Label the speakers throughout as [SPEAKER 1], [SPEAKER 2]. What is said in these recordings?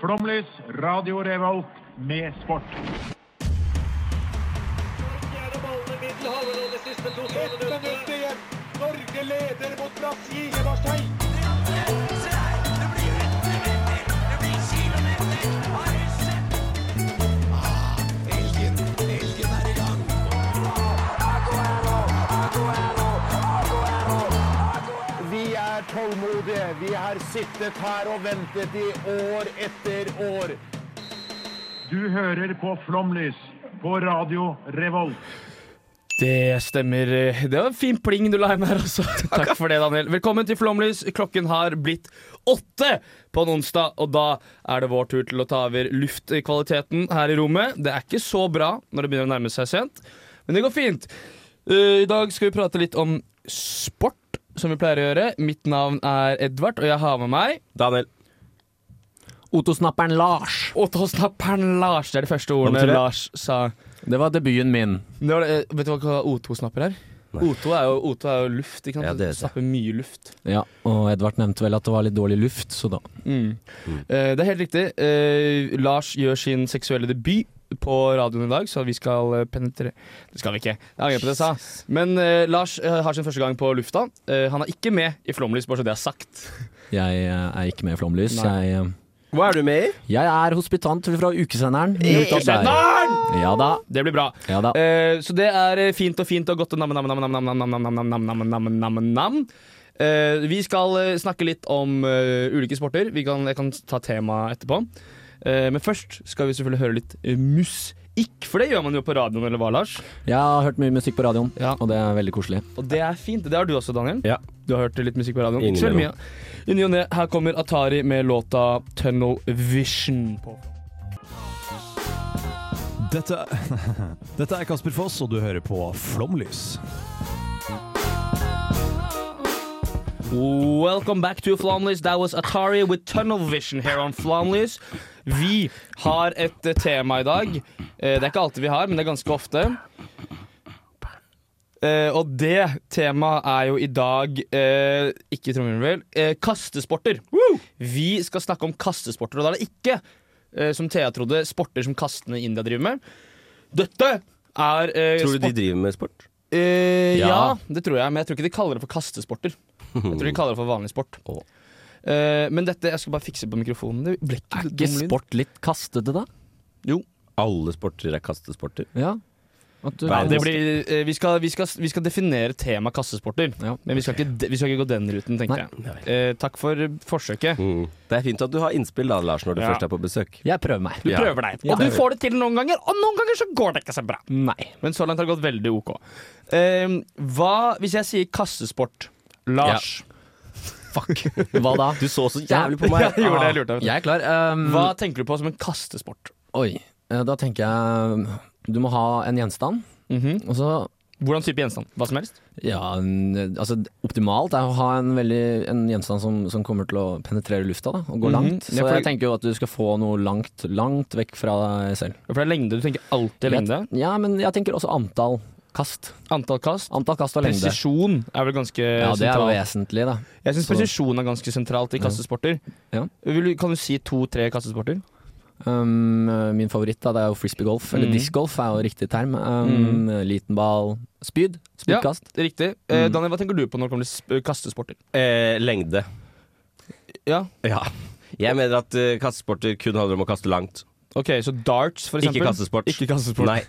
[SPEAKER 1] Flomlys, Radio Revolt, med sport.
[SPEAKER 2] Ett minutt igjen. Norge leder mot Brasil. Eberstein.
[SPEAKER 3] Vi er tålmodige. Vi har sittet her og ventet i år etter år.
[SPEAKER 1] Du hører på Flomlys på Radio Revolt.
[SPEAKER 4] Det stemmer. Det var en fin pling du la inn her også. Takk for det, Daniel. Velkommen til Flomlys. Klokken har blitt åtte på en onsdag, og da er det vår tur til å ta over luftkvaliteten her i rommet. Det er ikke så bra når det begynner å nærme seg sent, men det går fint. Uh, I dag skal vi prate litt om sport, som vi pleier å gjøre. Mitt navn er Edvard, og jeg har med meg
[SPEAKER 5] Daniel. Otosnapperen Lars.
[SPEAKER 4] Otto-snapperen Lars. Det er de første ordene
[SPEAKER 5] betyr det?
[SPEAKER 4] Lars sa.
[SPEAKER 5] Det var debuten min.
[SPEAKER 4] Det var, det- eh, vet du hva O2-snapper er? O2 er jo, O2 er jo luft, ikke sant?
[SPEAKER 6] Ja, det vet jeg.
[SPEAKER 4] snapper mye luft.
[SPEAKER 5] Ja, Og Edvard nevnte vel at det var litt dårlig luft, så da
[SPEAKER 4] Mm. Eh, det er helt riktig. Eh, Lars gjør sin seksuelle debut på radioen i dag, så vi skal eh, penetre... Det skal vi ikke. Jeg angrer på det jeg sa. Men eh, Lars eh, har sin første gang på lufta. Eh, han er ikke med i Flomlys, bare så det er sagt.
[SPEAKER 5] Jeg eh, er ikke med i Flomlys.
[SPEAKER 4] Nei.
[SPEAKER 5] Jeg, eh,
[SPEAKER 6] Hva er du med i?
[SPEAKER 5] jeg er hospitant fra ukesenderen. Gjort opp der. Ja da.
[SPEAKER 4] Det blir bra.
[SPEAKER 5] Ja da.
[SPEAKER 4] Eh, så det er eh, fint og fint og godt og nam-nam-nam-nam-nam-nam-nam-nam-nam-nam-nam. vi skal eh, snakke litt om eh, ulike sporter. Vi kan, jeg kan ta temaet etterpå. Eh, men først skal vi selvfølgelig høre litt uh, musikk, for det gjør man jo på radioen, eller hva, Lars?
[SPEAKER 5] Jeg har hørt mye musikk på radioen,
[SPEAKER 4] Ja.
[SPEAKER 5] og det er veldig koselig.
[SPEAKER 4] Og det er fint. Det har du også, Daniel.
[SPEAKER 6] Ja.
[SPEAKER 4] Du har hørt litt musikk på radioen.
[SPEAKER 6] Inni
[SPEAKER 4] Ikke så veldig
[SPEAKER 6] mellom.
[SPEAKER 4] mye. I ny og ne. Her kommer Atari med låta 'Tunnel Vision'. på
[SPEAKER 7] Dette, dette er Kasper Foss, og du hører på Flomlys.
[SPEAKER 4] Welcome back to Flomlys. That was Atari with Tunnel Vision here on Flomlys. Vi har et eh, tema i dag. Eh, Det er ikke alltid vi har, men det er ganske ofte. Eh, og det temaet er jo i dag eh, Ikke trommevirvel. Eh, kastesporter. Vi skal snakke om kastesporter, og da er det ikke, eh, som Thea trodde, sporter som kastene i India driver med. Dette er eh,
[SPEAKER 6] Tror du de
[SPEAKER 4] sport-
[SPEAKER 6] driver med sport?
[SPEAKER 4] Eh, ja.
[SPEAKER 5] Ja.
[SPEAKER 4] det tror jeg, men jeg tror ikke de kaller det for kastesporter. Jeg tror de kaller det for vanlig sport.
[SPEAKER 6] Å.
[SPEAKER 4] Eh, men dette, jeg skal bare fikse på mikrofonen. Det ble ikke,
[SPEAKER 5] Er
[SPEAKER 4] så
[SPEAKER 5] ikke
[SPEAKER 4] dum lyd.
[SPEAKER 5] sport litt kastete, da?
[SPEAKER 6] Alle sporter er kastesporter.
[SPEAKER 5] Ja. At du,
[SPEAKER 4] Ja, det blir, eh, vi, skal, vi, skal, vi skal definere tema kastesporter,
[SPEAKER 5] Ja.
[SPEAKER 4] men vi skal, ikke, de- vi skal ikke gå den ruten, tenker
[SPEAKER 5] Nei.
[SPEAKER 4] jeg. Eh, takk for forsøket.
[SPEAKER 6] Mm. Det er fint at du har innspill da, Lars, når du
[SPEAKER 4] Ja.
[SPEAKER 6] først er på besøk.
[SPEAKER 5] Jeg prøver meg.
[SPEAKER 4] Du
[SPEAKER 6] Ja.
[SPEAKER 4] prøver deg,
[SPEAKER 5] Ja.
[SPEAKER 4] og du får det til noen ganger, og noen ganger så går det ikke så bra.
[SPEAKER 5] Nei.
[SPEAKER 4] Men så langt har det gått veldig OK. Eh, hva hvis jeg sier kastesport? Lars,
[SPEAKER 5] Fuck. Hva da?
[SPEAKER 6] Du så så jævlig på meg!
[SPEAKER 4] Jeg gjorde det, jeg lurte.
[SPEAKER 5] Jeg er klar. Um,
[SPEAKER 4] hva tenker du på som en kastesport?
[SPEAKER 5] Oi. eh, Da tenker jeg um, du må ha en gjenstand,
[SPEAKER 4] Mhm.
[SPEAKER 5] og så
[SPEAKER 4] Hvordan type gjenstand? Hva som helst?
[SPEAKER 5] Ja, en, altså optimalt er å ha en, veldig, en gjenstand som, som kommer til å penetrere lufta da, og gå
[SPEAKER 4] Mhm.
[SPEAKER 5] langt.
[SPEAKER 4] Ja,
[SPEAKER 5] Så
[SPEAKER 4] for-
[SPEAKER 5] jeg tenker jo at du skal få noe langt, langt vekk fra deg selv.
[SPEAKER 4] For det er lengde. Du tenker alltid lengde.
[SPEAKER 5] Jeg, ja, men jeg tenker også antall kast.
[SPEAKER 4] Antall kast.
[SPEAKER 5] Antall kast og lengde.
[SPEAKER 4] Presisjon er vel ganske
[SPEAKER 5] Ja, det er jo
[SPEAKER 4] sentralt.
[SPEAKER 5] vesentlig, da.
[SPEAKER 4] Jeg syns
[SPEAKER 5] så-
[SPEAKER 4] presisjon er ganske sentralt i kastesporter.
[SPEAKER 5] Ja.
[SPEAKER 4] Vil du, kan du si to-tre kastesporter?
[SPEAKER 5] Um, min favoritt da, det er jo frisbeegolf, eller
[SPEAKER 4] Mhm.
[SPEAKER 5] discgolf er jo riktig term. Um, Liten ball, spyd, spydkast.
[SPEAKER 4] Det er Riktig. Eh, Daniel, hva tenker du på når det kommer til sp- kastesporter?
[SPEAKER 6] Eh, lengde.
[SPEAKER 4] Ja,
[SPEAKER 6] Ja. Jeg mener at eh, kastesporter kun handler om å kaste langt.
[SPEAKER 4] ok, Så darts, for eksempel.
[SPEAKER 6] Ikke kastesport.
[SPEAKER 4] Ikke kastesport.
[SPEAKER 6] Nei.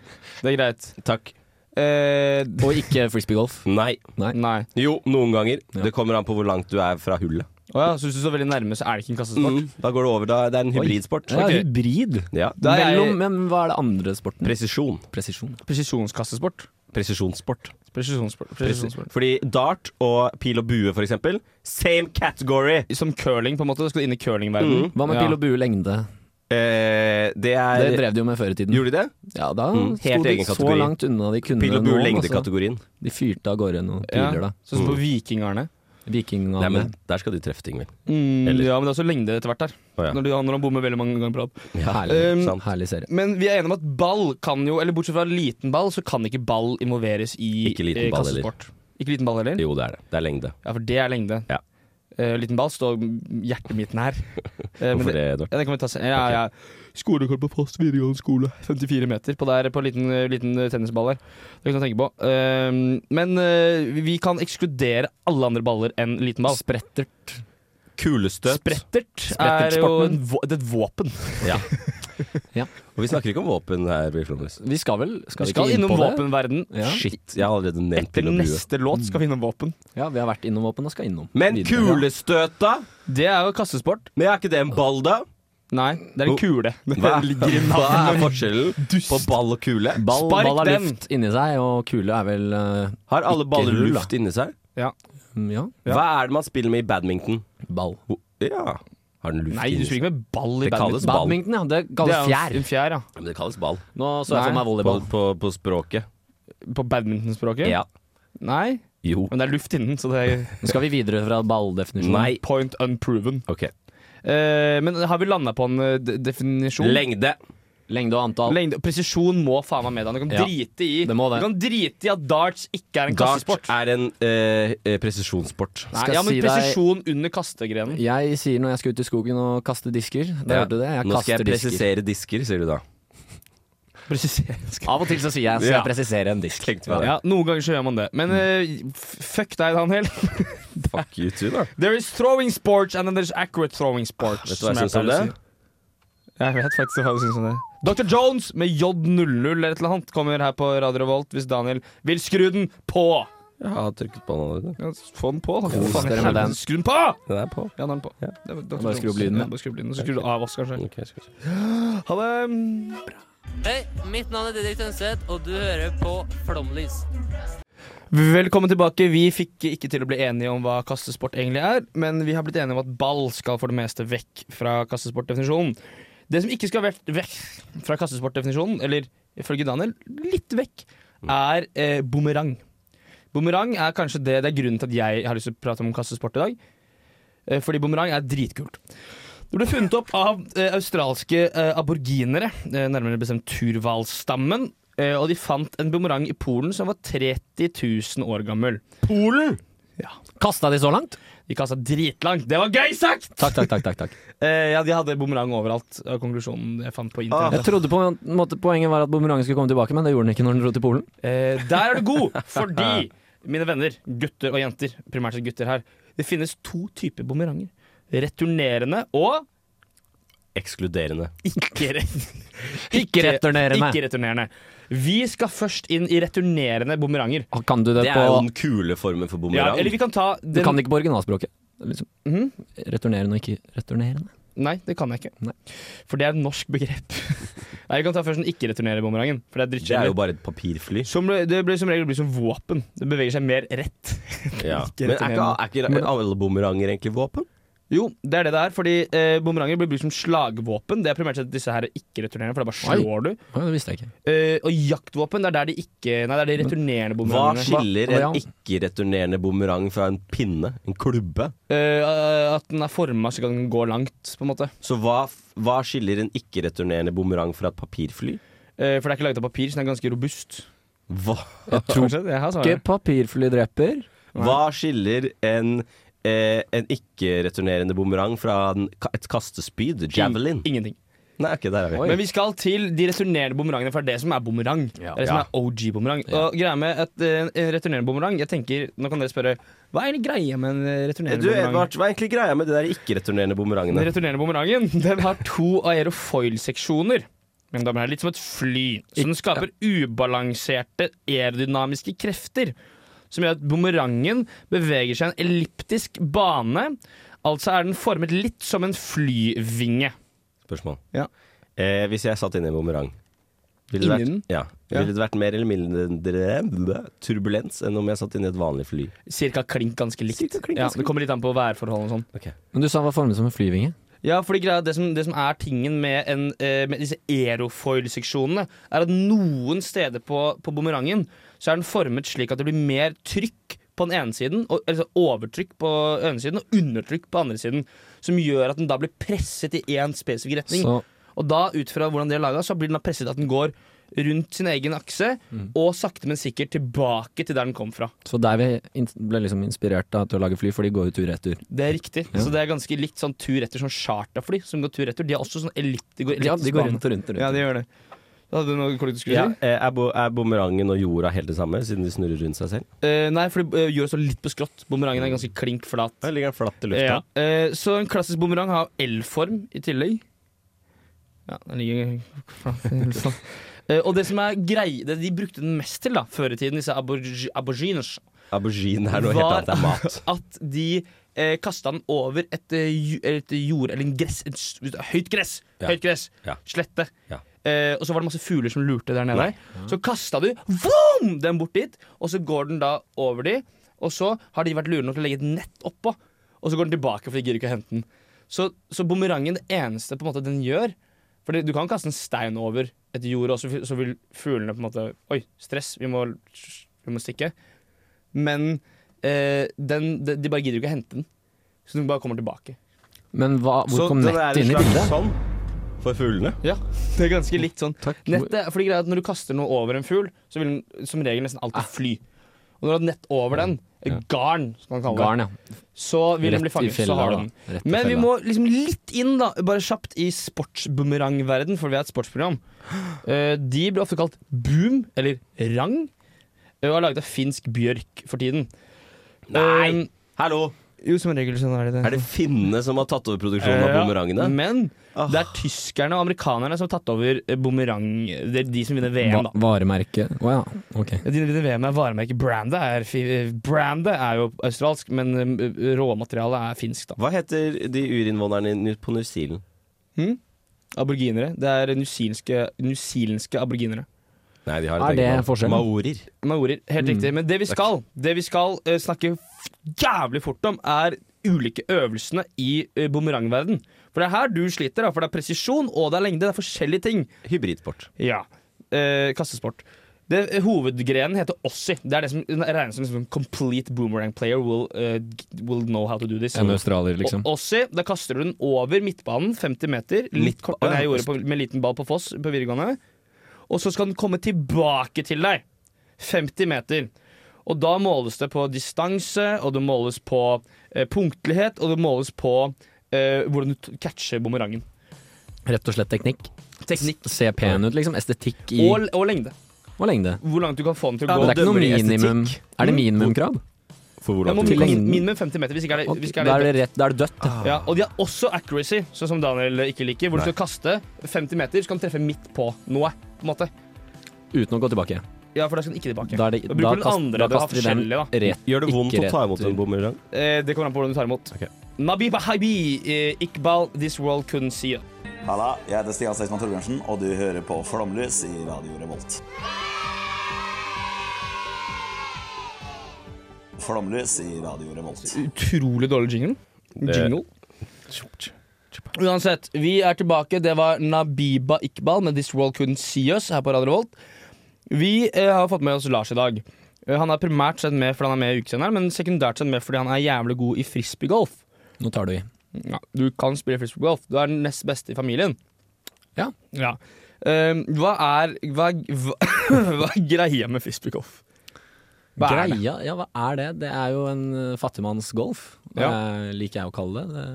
[SPEAKER 4] Det er greit.
[SPEAKER 6] Takk.
[SPEAKER 4] Eh,
[SPEAKER 5] Og ikke frisbeegolf.
[SPEAKER 6] Nei.
[SPEAKER 4] nei.
[SPEAKER 6] Jo, noen ganger.
[SPEAKER 5] Ja.
[SPEAKER 6] Det kommer an på hvor langt du er fra hullet.
[SPEAKER 4] Å ja, så hvis du står veldig nærme, så er det ikke en kastesport?
[SPEAKER 6] Mm. Da går det over. Da. Det er en hybridsport.
[SPEAKER 5] Ja,
[SPEAKER 4] Ok.
[SPEAKER 5] hybrid.
[SPEAKER 6] Ja.
[SPEAKER 4] Da er jeg-
[SPEAKER 5] Mellom, men hva er det andre sporten?
[SPEAKER 6] Presisjon.
[SPEAKER 5] Presisjon.
[SPEAKER 4] Presisjonskastesport.
[SPEAKER 6] Presisjonssport.
[SPEAKER 4] Presisjonssport.
[SPEAKER 6] Presisjonssport.
[SPEAKER 4] Presisjonssport.
[SPEAKER 6] Fordi dart og pil og bue, for eksempel, same category!
[SPEAKER 4] Som curling, på en måte. Da skal du inn i curlingverdenen.
[SPEAKER 5] Hva med
[SPEAKER 4] Ja.
[SPEAKER 5] pil og bue lengde?
[SPEAKER 6] Eh, det er
[SPEAKER 5] Det drev de jo med før i tiden.
[SPEAKER 6] Gjorde de det?
[SPEAKER 5] Ja, da
[SPEAKER 6] Mm,
[SPEAKER 5] sto
[SPEAKER 6] helt
[SPEAKER 5] de
[SPEAKER 6] egen
[SPEAKER 5] så
[SPEAKER 6] kategori.
[SPEAKER 5] langt unna de kunne
[SPEAKER 6] Pil og bue
[SPEAKER 5] nå, altså.
[SPEAKER 6] lengdekategorien.
[SPEAKER 5] De fyrte av gårde noen
[SPEAKER 4] Ja.
[SPEAKER 5] piler, da.
[SPEAKER 4] Sånn som på vikingarne.
[SPEAKER 5] Vikingene.
[SPEAKER 6] Nei, men der skal du treffe ting, vel.
[SPEAKER 4] Mm,
[SPEAKER 6] Eller-
[SPEAKER 4] ja, men det er også lengde etter hvert der.
[SPEAKER 6] Å, ja.
[SPEAKER 4] Når, du, når han bommer veldig mange ganger på rad.
[SPEAKER 5] herlig,
[SPEAKER 4] Um,
[SPEAKER 6] sant.
[SPEAKER 5] herlig serie.
[SPEAKER 4] Men vi er enige om at ball kan jo, eller bortsett fra liten ball, så kan ikke ball involveres i
[SPEAKER 6] Ikke liten
[SPEAKER 4] eh,
[SPEAKER 6] ball heller.
[SPEAKER 4] kastesport. Ikke liten ball heller?
[SPEAKER 6] Jo, det er det. Det er lengde.
[SPEAKER 4] Ja, for det er lengde.
[SPEAKER 6] Ja.
[SPEAKER 4] eh, liten ball, står hjertet mitt nær. Eh, men
[SPEAKER 6] Hvorfor det, Edvard?
[SPEAKER 4] Ja, det kan vi ta sen. Ja, ja. Skolekort på fast videregående skole. 54 meter på der på en liten, eh, liten tennisball her. Det kan du tenke på. Eh, men eh, vi kan ekskludere alle andre baller enn liten ball.
[SPEAKER 5] Sprettert.
[SPEAKER 6] Kulestøt.
[SPEAKER 4] Sprettert er jo
[SPEAKER 5] Sprettertsporten.
[SPEAKER 4] en, vå- det er et våpen.
[SPEAKER 6] Ja.
[SPEAKER 5] Ja.
[SPEAKER 6] Og vi snakker ikke om våpen her i Flomlys.
[SPEAKER 5] Vi skal vel skal
[SPEAKER 4] Vi
[SPEAKER 5] vi
[SPEAKER 4] skal
[SPEAKER 5] ikke inn
[SPEAKER 4] innom
[SPEAKER 5] på det?
[SPEAKER 4] våpenverden.
[SPEAKER 5] Ja.
[SPEAKER 6] Shit, jeg har allerede nevnt
[SPEAKER 4] Etter
[SPEAKER 6] Pil og bue.
[SPEAKER 4] neste låt skal vi innom våpen.
[SPEAKER 5] Ja, vi har vært innom våpen og skal innom.
[SPEAKER 6] Men
[SPEAKER 5] videre.
[SPEAKER 6] kulestøt, da?
[SPEAKER 4] Det er jo kastesport.
[SPEAKER 6] Men er ikke det en ball, da?
[SPEAKER 4] Nei, det er en kule.
[SPEAKER 6] Hva, hva er forskjellen
[SPEAKER 4] Dust.
[SPEAKER 6] på ball og kule?
[SPEAKER 5] Ball,
[SPEAKER 4] Spark
[SPEAKER 5] ball har
[SPEAKER 4] den!
[SPEAKER 5] luft inni seg, og kule er vel eh,
[SPEAKER 6] Har alle
[SPEAKER 5] Ikke
[SPEAKER 6] baller
[SPEAKER 5] rull, da.
[SPEAKER 6] luft inni seg?
[SPEAKER 5] mm, Ja,
[SPEAKER 6] Hva er det man spiller med i badminton?
[SPEAKER 5] ball.
[SPEAKER 6] Ho- Ja. Har den luft
[SPEAKER 4] Nei, du
[SPEAKER 6] inni seg?
[SPEAKER 4] spiller ikke med ball i
[SPEAKER 6] Det kalles
[SPEAKER 4] badminton.
[SPEAKER 6] ball.
[SPEAKER 5] Badminton, ja. Det
[SPEAKER 4] Det
[SPEAKER 5] kalles
[SPEAKER 4] er jo
[SPEAKER 5] fjær.
[SPEAKER 4] En fjær, ja.
[SPEAKER 6] Ja, Men det kalles ball.
[SPEAKER 5] Nå så jeg
[SPEAKER 4] Nei.
[SPEAKER 5] for meg
[SPEAKER 6] På,
[SPEAKER 5] volleyball.
[SPEAKER 6] på, på språket.
[SPEAKER 4] På badmintonspråket?
[SPEAKER 6] Ja.
[SPEAKER 4] Nei,
[SPEAKER 6] Jo.
[SPEAKER 4] men det er luft innen, så det er
[SPEAKER 5] Men Skal vi videre fra balldefinisjonen?
[SPEAKER 6] Nei.
[SPEAKER 4] point unproven.
[SPEAKER 6] Ok.
[SPEAKER 4] Eh, men har vi landa på en eh, de- definisjon?
[SPEAKER 6] Lengde.
[SPEAKER 5] Lengde og antall.
[SPEAKER 4] Lengde. Presisjon må faen meg med deg. Du kan
[SPEAKER 5] Ja,
[SPEAKER 4] drite i
[SPEAKER 5] det må det.
[SPEAKER 4] Du kan drite i at darts ikke er en
[SPEAKER 6] Dart
[SPEAKER 4] kastesport.
[SPEAKER 6] er en eh, eh, presisjonssport.
[SPEAKER 4] Nei,
[SPEAKER 5] Skal
[SPEAKER 4] ja,
[SPEAKER 5] jeg
[SPEAKER 4] men
[SPEAKER 5] si deg-
[SPEAKER 4] presisjon under kastegrenen.
[SPEAKER 5] Jeg sier når jeg skal ut i skogen og kaste disker. Da
[SPEAKER 6] Ja.
[SPEAKER 5] hørte du det? Jeg
[SPEAKER 6] Nå skal jeg
[SPEAKER 5] kaster disker.
[SPEAKER 6] presisere disker, sier du da.
[SPEAKER 4] Presisering.
[SPEAKER 5] Av og til så sier jeg skal jeg presisere en disk.
[SPEAKER 6] Tenkte meg det.
[SPEAKER 4] Ja, noen ganger så gjør man det. Men eh, f- fuck deg, Daniel.
[SPEAKER 6] Fuck you too, da.
[SPEAKER 4] There is throwing sports and then there's accurate throwing sports.
[SPEAKER 6] Vet du hva
[SPEAKER 4] som
[SPEAKER 6] jeg syns om
[SPEAKER 4] pleier
[SPEAKER 6] det?
[SPEAKER 4] å si. Jeg vet faktisk hva du syns om det. Dr. Jones med J00 eller et eller annet kommer her på Radio Revolt hvis Daniel vil skru den på.
[SPEAKER 6] Jeg har trykket på den allerede.
[SPEAKER 4] Ja, få den på, da.
[SPEAKER 5] Kos
[SPEAKER 4] Faen,
[SPEAKER 5] dere med
[SPEAKER 4] helvete,
[SPEAKER 5] den.
[SPEAKER 4] Skru den på!
[SPEAKER 6] Den er på.
[SPEAKER 4] Ja, den er på.
[SPEAKER 6] Ja.
[SPEAKER 4] Det er Dr.
[SPEAKER 5] Bare skru opp
[SPEAKER 4] Jones.
[SPEAKER 5] lyden, da.
[SPEAKER 4] Ja, bare skru opp lyden. Og så skrur du av oss, kanskje.
[SPEAKER 6] Ok, skal vi se.
[SPEAKER 4] Ha det.
[SPEAKER 8] Hei, mitt navn er Didrik Tønseth, og du hører på Flomlys.
[SPEAKER 4] Velkommen tilbake. Vi fikk ikke til å bli enige om hva kastesport egentlig er, men vi har blitt enige om at ball skal for det meste vekk fra kastesportdefinisjonen. Det som ikke skal vekk, vekk fra kastesportdefinisjonen, eller ifølge Daniel litt vekk, er eh, bumerang. Bumerang er kanskje det, det er grunnen til at jeg har lyst til å prate om kastesport i dag. Eh, fordi bumerang er dritkult. Det ble funnet opp av eh, australske eh, aborginere, eh, nærmere bestemt turhvalstammen. Eh, og de fant en bumerang i Polen som var 30 000 år gammel.
[SPEAKER 6] Polen!
[SPEAKER 5] Kasta de så langt?
[SPEAKER 4] De kasta dritlangt. Det var gøy sagt!
[SPEAKER 5] Takk, takk, takk. takk, takk.
[SPEAKER 4] Eh, ja, de hadde bumerang overalt, er konklusjonen jeg fant på
[SPEAKER 5] Jeg
[SPEAKER 4] internett.
[SPEAKER 5] trodde på en måte poenget var at bumerangen skulle komme tilbake, men det gjorde den ikke når den dro til Polen.
[SPEAKER 4] Eh, der er du god, fordi, mine venner, gutter og jenter, primært sett gutter her, det finnes to typer bumeranger. Returnerende og
[SPEAKER 6] Ekskluderende.
[SPEAKER 4] ikke
[SPEAKER 5] Ikke-returnerende.
[SPEAKER 4] Ikke returnerende. Vi skal først inn i returnerende bumeranger.
[SPEAKER 5] Kan du det,
[SPEAKER 6] Det er jo
[SPEAKER 5] på
[SPEAKER 6] den kule formen for
[SPEAKER 4] Ja,
[SPEAKER 6] bumerang.
[SPEAKER 4] eller vi kan ta
[SPEAKER 5] Du
[SPEAKER 4] den
[SPEAKER 5] kan det ikke på originalspråket? Liksom.
[SPEAKER 4] Mhm.
[SPEAKER 5] Returnerende og ikke returnerende.
[SPEAKER 4] Nei, det kan jeg ikke.
[SPEAKER 5] Nei.
[SPEAKER 4] For det er et norsk begrep. Nei, Vi kan ta først den ikke-returnerende bumerangen. For det er
[SPEAKER 6] det er jo
[SPEAKER 4] drittkjedelig.
[SPEAKER 6] bare et papirfly.
[SPEAKER 4] Som ble- Det blir som regel blir som våpen. Det beveger seg mer rett.
[SPEAKER 6] Ja.
[SPEAKER 4] Ikke
[SPEAKER 6] Men er ikke,
[SPEAKER 4] returnerende.
[SPEAKER 6] er ikke alle bumeranger egentlig våpen?
[SPEAKER 4] Jo, det er det det er. Fordi eh, bumeranger blir brukt som slagvåpen. Det er primært sett disse her ikke-returnerende, for da bare
[SPEAKER 5] Oi.
[SPEAKER 4] slår du.
[SPEAKER 5] Å, det visste jeg ikke.
[SPEAKER 4] Eh, og jaktvåpen, det er der de ikke Nei, det er de returnerende
[SPEAKER 6] Hva
[SPEAKER 4] bumerangene.
[SPEAKER 6] skiller
[SPEAKER 5] Hva-
[SPEAKER 6] en ikke-returnerende bumerang fra en pinne? En klubbe?
[SPEAKER 4] Eh, at den er forma så den går langt, på en måte.
[SPEAKER 6] Så hva, f- hva skiller en ikke-returnerende bumerang fra et papirfly?
[SPEAKER 4] Eh, for det er ikke laget av papir, så den er ganske robust.
[SPEAKER 6] Hva,
[SPEAKER 5] Jeg tror
[SPEAKER 4] Kanskje det her, sa
[SPEAKER 5] ikke
[SPEAKER 4] jeg.
[SPEAKER 5] papirfly dreper.
[SPEAKER 6] hva skiller en, eh, en ikke-returnerende bumerang fra en, ka- et kastespyd? Javelin?
[SPEAKER 4] Ingenting.
[SPEAKER 6] Nei, ok, der er vi.
[SPEAKER 4] Men vi skal til de returnerende bumerangene, for det er det som er bumerang. Det er det som
[SPEAKER 6] Ja.
[SPEAKER 4] er OG-bumerang. Og greia med et eh, returnerende bumerang Jeg tenker, Nå kan dere spørre hva er egentlig greia med en eh,
[SPEAKER 6] Eh,
[SPEAKER 4] returnerende
[SPEAKER 6] Du,
[SPEAKER 4] bumerang?
[SPEAKER 6] Edvard, hva er egentlig greia med de der ikke-returnerende
[SPEAKER 4] Den
[SPEAKER 6] bumerangene?
[SPEAKER 4] returnerende bumerangen den har to aerofoil-seksjoner. Men da er det litt som et fly, så den skaper ubalanserte aerodynamiske krefter. Som gjør at bumerangen beveger seg i en elliptisk bane. Altså er den formet litt som en flyvinge.
[SPEAKER 6] Spørsmål.
[SPEAKER 4] Ja.
[SPEAKER 6] Eh, hvis jeg satt inne i en bumerang ville det,
[SPEAKER 4] Inni den?
[SPEAKER 6] vært, ja.
[SPEAKER 4] Ja.
[SPEAKER 6] ville det vært mer eller mindre turbulens enn om jeg satt inne i et vanlig fly?
[SPEAKER 4] Cirka klink ganske likt.
[SPEAKER 6] Cirka klink
[SPEAKER 4] ja,
[SPEAKER 6] ganske
[SPEAKER 4] det kommer litt an på værforholdene og sånn.
[SPEAKER 5] Men du sa den var formet som en flyvinge.
[SPEAKER 4] Ja, fordi greia, det, som, det som er tingen med, en, eh, med disse aerofoil-seksjonene, er at noen steder på, på bumerangen så er den formet slik at det blir mer trykk på den ene siden, og, altså overtrykk på den ene siden og undertrykk på den andre siden, som gjør at den da blir presset i én spesifikk retning.
[SPEAKER 5] Så
[SPEAKER 4] Og da, ut fra hvordan det er laga, så blir den da presset at den går rundt sin egen akse
[SPEAKER 5] Mm.
[SPEAKER 4] og sakte, men sikkert tilbake til der den kom fra.
[SPEAKER 5] Så der vi in- ble liksom inspirert da, til å lage fly, for de går jo tur-retur.
[SPEAKER 4] Det er riktig. Så det er ganske likt sånn tur-retur, sånn charterfly som går tur-retur. De er også sånn ellipt... De går,
[SPEAKER 5] Ja, de
[SPEAKER 4] elliptisk
[SPEAKER 5] går rundt og rundt og rundt.
[SPEAKER 4] Ja, de gjør det. Hadde du noe du skulle
[SPEAKER 6] Ja,
[SPEAKER 4] si?
[SPEAKER 6] eh, er, bo, er bumerangen og jorda helt det samme, siden de snurrer rundt seg selv?
[SPEAKER 4] Eh, nei, for uh, jorda står litt på skrått. Bumerangen er ganske klink flat.
[SPEAKER 6] Da ligger den flatt i
[SPEAKER 4] Ja.
[SPEAKER 6] lufta.
[SPEAKER 4] Eh, så en klassisk bumerang har L-form i tillegg. Ja, den ligger flat i lufta. Eh, og det som er grei, det de brukte den mest til da, før i tiden, disse aborgi- aborigines,
[SPEAKER 6] Aubergine er noe
[SPEAKER 4] Var-
[SPEAKER 6] helt annet, det er mat.
[SPEAKER 4] at de eh, kasta den over et, eh, ju- et jord... Eller en gress, et, s- høyt gress!
[SPEAKER 6] Ja.
[SPEAKER 4] Høyt gress!
[SPEAKER 6] Ja.
[SPEAKER 4] Slette.
[SPEAKER 6] Ja.
[SPEAKER 4] Eh, og så var det masse fugler som lurte der nede.
[SPEAKER 6] Nei.
[SPEAKER 4] Så kasta du vroom, den bort dit, og så går den da over de. Og så har de vært lure nok til å legge et nett oppå, og så går den tilbake, for de gidder ikke å hente den. Så, så bumerangen, det eneste på en måte den gjør For du kan kaste en stein over et jord, og så, f- så vil fuglene på en måte Oi, stress, vi må, vi må stikke. Men eh, den, de, de bare gidder ikke å hente den. Så den bare kommer tilbake.
[SPEAKER 5] Men hva, hvor kom nettet inn i bildet?
[SPEAKER 6] sånn for fuglene.
[SPEAKER 4] Ja, Det er ganske likt sånn. Nettet, fordi greia er at Når du kaster noe over en fugl, så vil den som regel nesten
[SPEAKER 5] Ah.
[SPEAKER 4] alltid fly. Og når du har et nett over den, et garn, som man kaller det,
[SPEAKER 5] Garn, ja.
[SPEAKER 4] så vil den bli
[SPEAKER 5] Rett i
[SPEAKER 4] fanget. så
[SPEAKER 5] fella,
[SPEAKER 4] har du
[SPEAKER 5] da.
[SPEAKER 4] den.
[SPEAKER 5] Rett i
[SPEAKER 4] Men vi
[SPEAKER 5] fella.
[SPEAKER 4] må liksom litt inn, da, bare kjapt, i sportsbumerangverden, for vi er et sportsprogram. Eh, de blir ofte kalt boom, eller rang, eh, og er laget av finsk bjørk for tiden.
[SPEAKER 6] Nei!
[SPEAKER 4] Eh,
[SPEAKER 6] Hallo!
[SPEAKER 4] jo, som regel sånn er det det.
[SPEAKER 6] Er det finnene som har tatt over produksjonen av
[SPEAKER 4] Ja,
[SPEAKER 6] bumerangene? Ah,
[SPEAKER 4] Men det
[SPEAKER 5] Ah.
[SPEAKER 4] er tyskerne og amerikanerne som har tatt over eh, bumerang... Det er de som vinner VM,
[SPEAKER 5] Va
[SPEAKER 4] da.
[SPEAKER 5] varemerke. Å ja, ok.
[SPEAKER 4] Ja, De vinner VM er varemerket. Brandet er, fi- brandet er jo australsk, men eh, råmaterialet er finsk, da.
[SPEAKER 6] Hva heter de urinnvånerne i New- på New Zealand?
[SPEAKER 4] Aborginere. Det er newzealandske newzealandske aborginere.
[SPEAKER 6] Nei, de har
[SPEAKER 5] Er
[SPEAKER 6] et
[SPEAKER 5] det
[SPEAKER 6] eget navn.
[SPEAKER 5] forskjellen?
[SPEAKER 6] Maorier.
[SPEAKER 4] Maorier. Helt riktig. Men Mm. det vi skal, det vi skal eh, snakke f- jævlig fort om, er ulike øvelsene i uh, bumerangverden. For det er her du sliter, da, for det er presisjon og det er lengde. Det er forskjellige ting.
[SPEAKER 6] Hybridsport.
[SPEAKER 4] Ja. Eh, kastesport. Det, eh, hovedgrenen heter Ossie. Det er det som den regnes som liksom, complete boomerang player will, eh, g- will know how to do this.
[SPEAKER 5] En australier, liksom.
[SPEAKER 4] Og- Ossie, da kaster du den over midtbanen, 50 meter.
[SPEAKER 5] Mm.
[SPEAKER 4] Litt
[SPEAKER 6] Midt-
[SPEAKER 4] kortere enn jeg
[SPEAKER 6] ja.
[SPEAKER 4] gjorde på, med liten ball på Foss på videregående. Og så skal den komme tilbake til deg. 50 meter. Og da måles det på distanse, og det måles på eh, punktlighet, og det måles på eh, hvordan du t- catcher bumerangen.
[SPEAKER 5] Rett og slett teknikk.
[SPEAKER 4] Teknikk
[SPEAKER 5] S- Se pen ut, liksom. Estetikk i
[SPEAKER 4] og, og lengde.
[SPEAKER 5] og lengde.
[SPEAKER 4] Hvor langt du kan få den til å
[SPEAKER 5] Men
[SPEAKER 4] gå.
[SPEAKER 5] det er ikke noe
[SPEAKER 6] dømmer i
[SPEAKER 5] minimum
[SPEAKER 6] estetikk. Mm.
[SPEAKER 5] Er det minimumkrav?
[SPEAKER 6] For
[SPEAKER 4] Ja,
[SPEAKER 6] hvordan
[SPEAKER 4] må
[SPEAKER 6] du
[SPEAKER 5] til
[SPEAKER 4] minimum-
[SPEAKER 5] lengden.
[SPEAKER 4] Minimum 50 meter, hvis ikke er det, hvis
[SPEAKER 5] Ok,
[SPEAKER 4] ikke
[SPEAKER 5] Da
[SPEAKER 4] er
[SPEAKER 5] er
[SPEAKER 4] det
[SPEAKER 5] det rett, da er det dødt. ja.
[SPEAKER 6] Ah.
[SPEAKER 4] ja, Og de har også accuracy, sånn som Daniel ikke liker. Hvor du
[SPEAKER 6] Nei.
[SPEAKER 4] skal kaste 50 meter, så kan du treffe midt på noe. på en måte
[SPEAKER 5] Uten å gå tilbake.
[SPEAKER 4] Ja, for da skal den ikke tilbake.
[SPEAKER 5] Da, er det,
[SPEAKER 4] Da
[SPEAKER 5] da,
[SPEAKER 4] bruker den
[SPEAKER 5] kast-
[SPEAKER 4] andre
[SPEAKER 5] da
[SPEAKER 4] til å ha
[SPEAKER 5] kaster vi den
[SPEAKER 4] forskjellig,
[SPEAKER 5] rett.
[SPEAKER 6] Gjør det vondt
[SPEAKER 5] Ikke
[SPEAKER 6] å ta imot
[SPEAKER 5] rett-
[SPEAKER 6] en bumerang?
[SPEAKER 4] Eh, det kommer an på hvordan du tar imot.
[SPEAKER 6] Ok.
[SPEAKER 4] Nabib Habi, eh, Iqbal, This World Couldn't See It.
[SPEAKER 9] Halla, jeg heter Stian Seismann Torbjørnsen, og du hører på Flomlys i Radio Revolt. Flomlys i Radio Revolt.
[SPEAKER 4] Utrolig dårlig jingle.
[SPEAKER 6] Det-
[SPEAKER 4] Jingle. Uansett, vi er tilbake. Det var Nabiba Iqbal med This World Couldn't See Us her på Radio Volt. Vi eh, har fått med oss Lars i dag. Eh, han er primært sett med fordi han er med i ukesenderen, men sekundært sett med fordi han er jævlig god i frisbeegolf.
[SPEAKER 5] Nå tar du i.
[SPEAKER 4] Ja, du kan spille frisbeegolf. Du er den nest beste i familien.
[SPEAKER 5] Ja.
[SPEAKER 4] Eh, hva er Hva, er- hva, hva er greia med frisbeegolf? Hva er det?
[SPEAKER 5] Greia, ja hva er det? Det er jo en eh, fattigmannsgolf, det er- liker jeg å kalle det.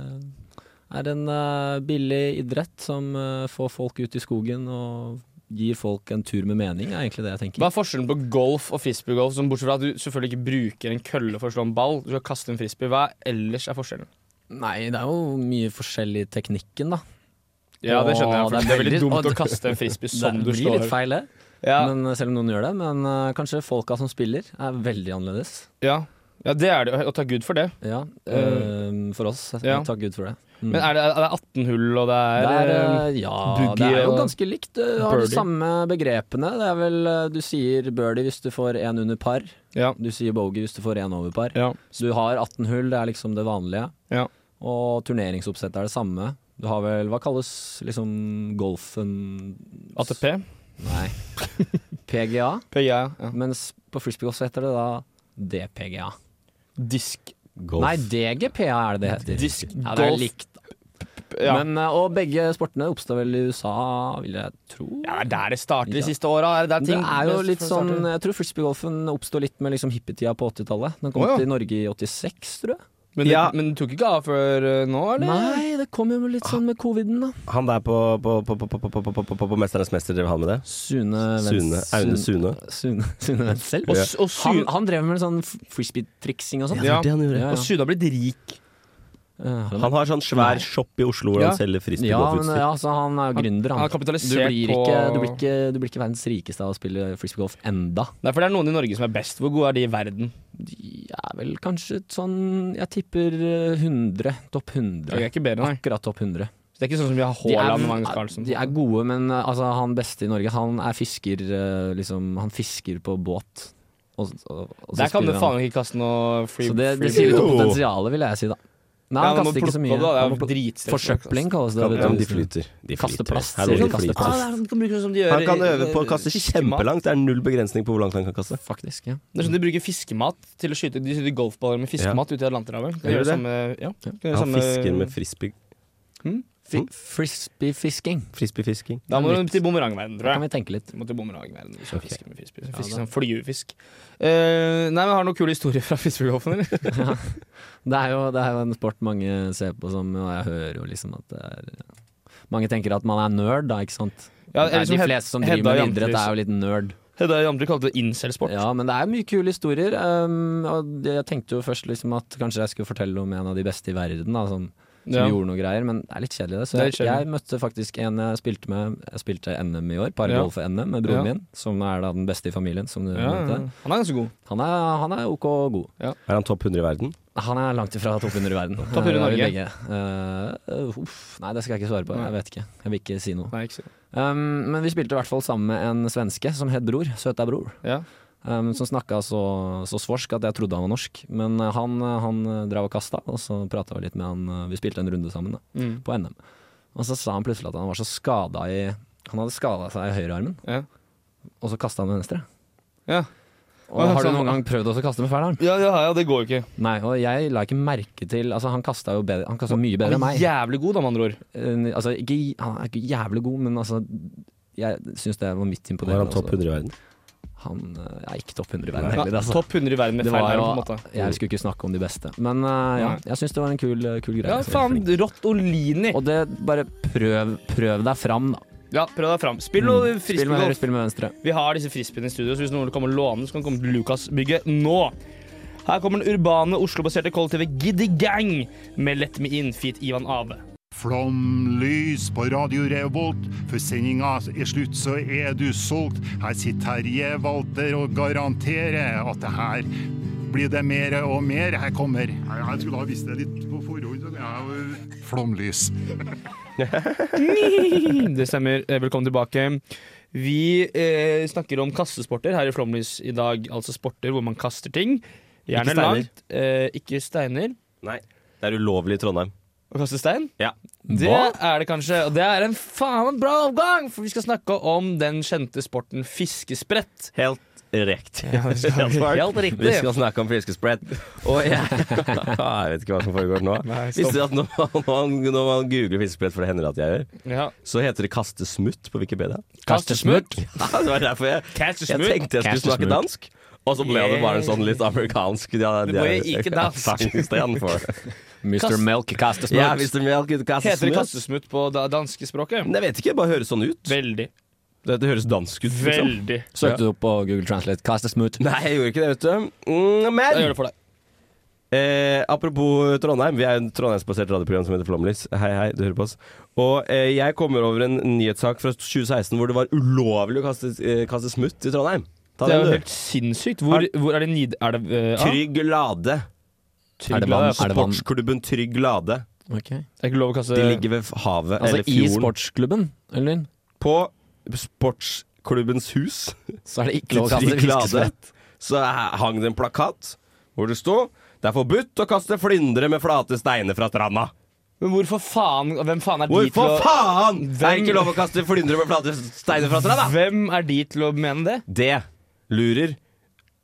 [SPEAKER 5] Det er en eh, billig idrett som eh, får folk ut i skogen og gir folk en tur med mening, er egentlig det jeg tenker.
[SPEAKER 4] Hva er forskjellen på golf og frisbeegolf, som bortsett fra at du selvfølgelig ikke bruker en kølle for å slå en ball, du skal kaste en frisbee, hva ellers er forskjellen?
[SPEAKER 5] Nei, det er jo mye forskjellig i teknikken, da.
[SPEAKER 4] Ja, det skjønner jeg,
[SPEAKER 5] Åh,
[SPEAKER 4] for det er, veldig
[SPEAKER 5] veldig-
[SPEAKER 4] dumt
[SPEAKER 5] åh,
[SPEAKER 4] å kaste en frisbee
[SPEAKER 5] Det
[SPEAKER 4] som du
[SPEAKER 5] blir
[SPEAKER 4] slår.
[SPEAKER 5] litt feil, det.
[SPEAKER 4] Ja,
[SPEAKER 5] Men, eh, selv om noen gjør det. Men eh, kanskje folka som spiller, er veldig annerledes.
[SPEAKER 4] ja. ja, det er det, og takk Gud for det.
[SPEAKER 5] Ja, eh, for oss.
[SPEAKER 4] ja.
[SPEAKER 5] Takk Gud for det. Mm.
[SPEAKER 4] Men er det, er det 18 hull, og det
[SPEAKER 5] Det
[SPEAKER 4] er,
[SPEAKER 5] er,
[SPEAKER 4] eh,
[SPEAKER 5] eh, ja, det
[SPEAKER 4] boogie
[SPEAKER 5] er jo
[SPEAKER 4] og
[SPEAKER 5] ganske likt. Du har de
[SPEAKER 4] birdie.
[SPEAKER 5] samme begrepene. Det er vel eh, Du sier birdie hvis du får én under par.
[SPEAKER 4] Ja.
[SPEAKER 5] Du sier bogey hvis du får én over par.
[SPEAKER 4] Ja.
[SPEAKER 5] Så du har 18 hull, det er liksom det vanlige.
[SPEAKER 4] Ja.
[SPEAKER 5] Og turneringsoppsettet er det samme. Du har vel Hva kalles liksom golfen
[SPEAKER 4] ATP?
[SPEAKER 5] Nei. PGA.
[SPEAKER 4] PGA? Ja.
[SPEAKER 5] Mens på frisbeegolf så heter det da DPGA.
[SPEAKER 4] Disk,
[SPEAKER 5] Nei, DGPA er det det heter.
[SPEAKER 4] disk
[SPEAKER 5] Ja, det er
[SPEAKER 4] golf
[SPEAKER 5] likt.
[SPEAKER 4] Ja.
[SPEAKER 5] Men, eh, og begge sportene oppstår vel i USA, vil jeg tro.
[SPEAKER 4] Ja, det er der det starter de siste åra. Det,
[SPEAKER 5] Det er jo litt sånn, jeg tror frisbeegolfen oppstod litt med liksom hippietida på 80-tallet. Den kom
[SPEAKER 4] Å, ja.
[SPEAKER 5] til Norge i 86, tror jeg.
[SPEAKER 4] Men det,
[SPEAKER 6] Ja.
[SPEAKER 4] men det tok ikke av før eh, nå, eller?
[SPEAKER 5] Nei, det kom jo litt sånn med coviden, da.
[SPEAKER 6] Han der på, på, på, på, på, på, på, på, på, på Mesternes mester drev han med det?
[SPEAKER 5] Sune
[SPEAKER 6] Sune. Aune Sune.
[SPEAKER 5] Sune, Sune Wendsel.
[SPEAKER 4] Og, s- og,
[SPEAKER 5] Han,
[SPEAKER 4] Syn-
[SPEAKER 5] han drev med sånn f- frisbee-triksing og sånt.
[SPEAKER 4] Ja.
[SPEAKER 6] Det han gjorde.
[SPEAKER 5] Ja,
[SPEAKER 4] og Sune har blitt rik.
[SPEAKER 5] Eh, har han-
[SPEAKER 6] Han har sånn svær shop i Oslo hvor
[SPEAKER 4] Ja.
[SPEAKER 6] han selger frisbee
[SPEAKER 5] Ja, men
[SPEAKER 6] golfutstyr.
[SPEAKER 5] ja, så han er jo gründer,
[SPEAKER 4] han
[SPEAKER 5] han.
[SPEAKER 4] har kapitalisert
[SPEAKER 5] du, blir
[SPEAKER 4] på-
[SPEAKER 5] ikke, du, blir ikke, du blir ikke verdens rikeste av å spille frisbeegolf enda.
[SPEAKER 4] Nei, for det er noen i Norge som er best. Hvor gode er de i verden?
[SPEAKER 5] De er vel kanskje sånn Jeg tipper eh, 100. Topp 100.
[SPEAKER 4] De er ikke bedre, nei.
[SPEAKER 5] Akkurat topp 100.
[SPEAKER 4] Så det er ikke sånn som vi har Haaland og Magnus Carlsen.
[SPEAKER 5] de er gode, men eh, altså, han beste i Norge, han er fisker eh, liksom, Han fisker på båt. Og, og, og så
[SPEAKER 4] Der kan du
[SPEAKER 5] spiller han.
[SPEAKER 4] faen ikke kaste noe free
[SPEAKER 5] Så det,
[SPEAKER 4] free-
[SPEAKER 5] det sier litt om
[SPEAKER 6] Jo.
[SPEAKER 5] potensialet, vil jeg si, da. Nei, han
[SPEAKER 4] Ja, man må
[SPEAKER 5] kaster ikke så
[SPEAKER 4] plukke opp det,
[SPEAKER 5] mye.
[SPEAKER 4] det er altså.
[SPEAKER 5] Han må plukke-
[SPEAKER 4] dritstress.
[SPEAKER 5] Forsøpling kalles det.
[SPEAKER 6] Ja,
[SPEAKER 5] vet
[SPEAKER 6] men
[SPEAKER 5] du.
[SPEAKER 6] de flyter. De
[SPEAKER 5] Kaste
[SPEAKER 6] flyter.
[SPEAKER 5] plast,
[SPEAKER 6] Her må
[SPEAKER 5] sier
[SPEAKER 6] de
[SPEAKER 5] de.
[SPEAKER 6] flyte.
[SPEAKER 5] Kaste plast.
[SPEAKER 4] Ah, han kan bruke sånn som de gjør
[SPEAKER 6] Han kan
[SPEAKER 4] i-
[SPEAKER 6] øve på å kaste
[SPEAKER 4] fiskemat.
[SPEAKER 6] kjempelangt. Det er null begrensning på hvor langt han kan kaste.
[SPEAKER 5] Faktisk, ja.
[SPEAKER 4] Det er sånn De bruker fiskemat til å skyte De skyter golfballer med fiskemat ute i Atlanterhavet. Kan gjøre
[SPEAKER 6] Gjør de det?
[SPEAKER 4] samme, ja, kan gjøre
[SPEAKER 6] Han
[SPEAKER 4] samme-
[SPEAKER 6] fisker med frisbee.
[SPEAKER 5] Fi- Frisbee-fisking.
[SPEAKER 6] Frisbeefisking.
[SPEAKER 4] Da må du til bumerangverden, tror
[SPEAKER 5] Da kan
[SPEAKER 4] jeg.
[SPEAKER 5] vi tenke litt.
[SPEAKER 4] Må til bumerangverden hvis du
[SPEAKER 6] Ok.
[SPEAKER 4] fisker med frisbee. Fiske som flyvefisk. Eh, nei, men Har du noen kule historier fra fiskegolfen, eller?
[SPEAKER 5] Det er, jo, det er jo en sport mange ser på som Og jeg hører jo liksom at det er Mange tenker at man er nerd, da, ikke sant?
[SPEAKER 4] Ja,
[SPEAKER 5] Det er
[SPEAKER 4] eller som
[SPEAKER 5] de
[SPEAKER 4] Hed-
[SPEAKER 5] fleste som
[SPEAKER 4] Hedda
[SPEAKER 5] driver med
[SPEAKER 4] Jamtrus.
[SPEAKER 5] idrett, er jo litt nerd.
[SPEAKER 4] Hedda Jamtru kalte det incel-sport.
[SPEAKER 5] Ja, men det er mye kule historier. Um, og det- jeg tenkte jo først liksom at kanskje jeg skulle fortelle om en av de beste i verden, da, som, som
[SPEAKER 4] Ja.
[SPEAKER 5] gjorde noe greier, men det er litt kjedelig, det. Så
[SPEAKER 4] Det er
[SPEAKER 5] jeg,
[SPEAKER 4] litt kjedelig.
[SPEAKER 5] jeg møtte faktisk en jeg spilte med Jeg spilte NM i år,
[SPEAKER 4] Ja.
[SPEAKER 5] paragolf-NM, med
[SPEAKER 4] Ja.
[SPEAKER 5] broren min, som er da den beste i familien, som du
[SPEAKER 4] Ja, ja.
[SPEAKER 5] nevnte.
[SPEAKER 4] Han er ganske god.
[SPEAKER 5] Han er, han er ok god.
[SPEAKER 6] Er han topp 100 i verden?
[SPEAKER 5] Han er langt ifra topp 100 i verden.
[SPEAKER 4] Topp 100 i
[SPEAKER 5] Eh,
[SPEAKER 4] Norge.
[SPEAKER 5] begge. Eh, eh, uff, nei, det skal jeg ikke svare på. Jeg vet ikke. Jeg vil ikke si noe.
[SPEAKER 4] Nei, ikke så.
[SPEAKER 5] Um, men vi spilte i hvert fall sammen med en svenske som het Bror. Søta Bror.
[SPEAKER 4] Ja.
[SPEAKER 5] Um, som snakka så, så svorsk at jeg trodde han var norsk. Men eh, han, eh, han eh, drev og kasta, og så prata vi litt med han. eh, Vi spilte en runde sammen da,
[SPEAKER 4] Mm.
[SPEAKER 5] på NM. Og så sa han plutselig at han var så skada i Han hadde skada seg i høyrearmen,
[SPEAKER 4] Ja.
[SPEAKER 5] og så kasta han med venstre.
[SPEAKER 4] Ja.
[SPEAKER 5] Og
[SPEAKER 4] Ja,
[SPEAKER 5] har du
[SPEAKER 4] sånn.
[SPEAKER 5] noen gang prøvd også å kaste med feil arm?
[SPEAKER 4] Ja, ja, ja, det går jo ikke.
[SPEAKER 5] Nei, og jeg la ikke merke til Altså, han kasta jo bedre, han kastet mye bedre
[SPEAKER 4] Han
[SPEAKER 5] enn
[SPEAKER 4] er
[SPEAKER 5] meg.
[SPEAKER 4] jævlig god, da, med andre ord.
[SPEAKER 5] Eh, Altså, ikke, han er ikke jævlig god, men altså Jeg syns det var midt
[SPEAKER 6] Var
[SPEAKER 5] imponerende.
[SPEAKER 6] han topp
[SPEAKER 5] altså.
[SPEAKER 6] 100 i verden?
[SPEAKER 5] Han eh, er ikke topp 100 i verden
[SPEAKER 6] Nei.
[SPEAKER 5] heller. Altså.
[SPEAKER 4] Topp 100 i verden med
[SPEAKER 5] Det
[SPEAKER 4] feil
[SPEAKER 5] var
[SPEAKER 4] arm,
[SPEAKER 5] jo,
[SPEAKER 4] på en måte.
[SPEAKER 5] jeg skulle ikke snakke om de beste, men eh, ja,
[SPEAKER 4] Nei.
[SPEAKER 5] jeg syns det var en kul, eh, kul greie. Altså,
[SPEAKER 4] Ja, faen. Rått Olini.
[SPEAKER 5] Og det, bare prøv, prøv deg fram, da.
[SPEAKER 4] Ja, prøv deg fram. Mm. Spill noe
[SPEAKER 5] Spill med
[SPEAKER 4] frisbeegolf.
[SPEAKER 5] høyre, spill med venstre.
[SPEAKER 4] Vi har disse frisbeene i studio, så hvis noen vil komme og låne, så kan du komme til Lukas-bygget nå. Her kommer den urbane, Oslo-baserte kollektivet Giddy Gang med Let Me In, feat. Ivan Ave.
[SPEAKER 10] Flomlys på Radio Revolt, for sendinga er slutt, så er du solgt. Her sitter Terje Walter og garanterer at det her blir det mer og mer. Her kommer Jeg skulle ha visst det litt på forhånd. Flomlys.
[SPEAKER 4] Det stemmer. Eh, Velkommen tilbake. Vi eh, snakker om kastesporter her i Flomlys i dag. Altså sporter hvor man kaster ting. Gjerne
[SPEAKER 6] Ikke steiner.
[SPEAKER 4] langt. Eh, ikke steiner.
[SPEAKER 6] Nei. Det er ulovlig i Trondheim.
[SPEAKER 4] Å kaste stein?
[SPEAKER 6] Ja.
[SPEAKER 4] Det er det kanskje. Og det er en faen bra oppgang, for vi skal snakke om den kjente sporten fiskesprett.
[SPEAKER 6] Helt riktig. Helt smart.
[SPEAKER 4] Helt
[SPEAKER 6] Vi
[SPEAKER 4] riktig.
[SPEAKER 6] skal snakke om fiskesprett. Og jeg, jeg vet ikke hva som foregår nå. Visste du at når man, når man googler fiskesprett, for det hender at jeg gjør,
[SPEAKER 4] Ja.
[SPEAKER 6] så heter det 'kaste smutt' på Wikipedia.
[SPEAKER 4] Kastesmurt.
[SPEAKER 6] Ja, det var derfor jeg,
[SPEAKER 4] Kaste
[SPEAKER 6] jeg
[SPEAKER 4] smutt.
[SPEAKER 6] tenkte jeg skulle snakke dansk. Og så ble det bare sånn litt amerikansk. Ja,
[SPEAKER 4] Det ble ikke dansk.
[SPEAKER 5] Mr.
[SPEAKER 4] Kast-
[SPEAKER 5] Melk kaster
[SPEAKER 6] Ja,
[SPEAKER 5] smør.
[SPEAKER 6] hvis det melk, kaste
[SPEAKER 4] Heter det
[SPEAKER 6] smutt.
[SPEAKER 4] kastesmutt på da- danskespråket?
[SPEAKER 6] Men jeg vet ikke, det bare høres sånn ut.
[SPEAKER 4] Veldig.
[SPEAKER 6] Det, det høres dansk ut. Liksom.
[SPEAKER 4] Veldig.
[SPEAKER 5] Søkte du opp på Google Translate 'kaster smut'?
[SPEAKER 6] Nei, jeg gjorde ikke det, vet du. Mm,
[SPEAKER 4] Jeg
[SPEAKER 6] Men
[SPEAKER 4] gjør det for deg.
[SPEAKER 6] Eh, apropos Trondheim, vi er jo en trondheimsbasert radioprogram som heter Flomlys. Hei, hei, du hører på oss. Og eh, jeg kommer over en nyhetssak fra 2016 hvor det var ulovlig å kaste, eh, kaste smutt i Trondheim. Ta
[SPEAKER 4] Det er jo
[SPEAKER 6] den,
[SPEAKER 4] helt
[SPEAKER 6] du.
[SPEAKER 4] sinnssykt. Hvor, hvor er det Nid... Er det eh, A?
[SPEAKER 6] Trygg Lade.
[SPEAKER 5] Er det vann? Er det vann?
[SPEAKER 6] Sportsklubben Trygg Lade.
[SPEAKER 5] Ok.
[SPEAKER 4] Det er ikke lov å kaste
[SPEAKER 6] De ligger ved havet
[SPEAKER 5] Altså
[SPEAKER 6] eller
[SPEAKER 5] i
[SPEAKER 6] fjorden.
[SPEAKER 5] sportsklubben, Elvin,
[SPEAKER 6] På sportsklubbens hus
[SPEAKER 5] så er det ikke
[SPEAKER 6] til
[SPEAKER 5] lov å kaste
[SPEAKER 6] Trygg Lade
[SPEAKER 5] fiskesprett.
[SPEAKER 6] så hang det en plakat hvor det sto 'Det er forbudt å kaste flyndre med flate steiner fra stranda'.
[SPEAKER 4] Men hvorfor faen Hvem faen er de til
[SPEAKER 6] Hvorfor
[SPEAKER 4] å
[SPEAKER 6] faen? Det er
[SPEAKER 4] Hvem-
[SPEAKER 6] ikke lov å kaste flyndre med flate steiner fra stranda!
[SPEAKER 4] Hvem er de til å mene det?
[SPEAKER 6] Det lurer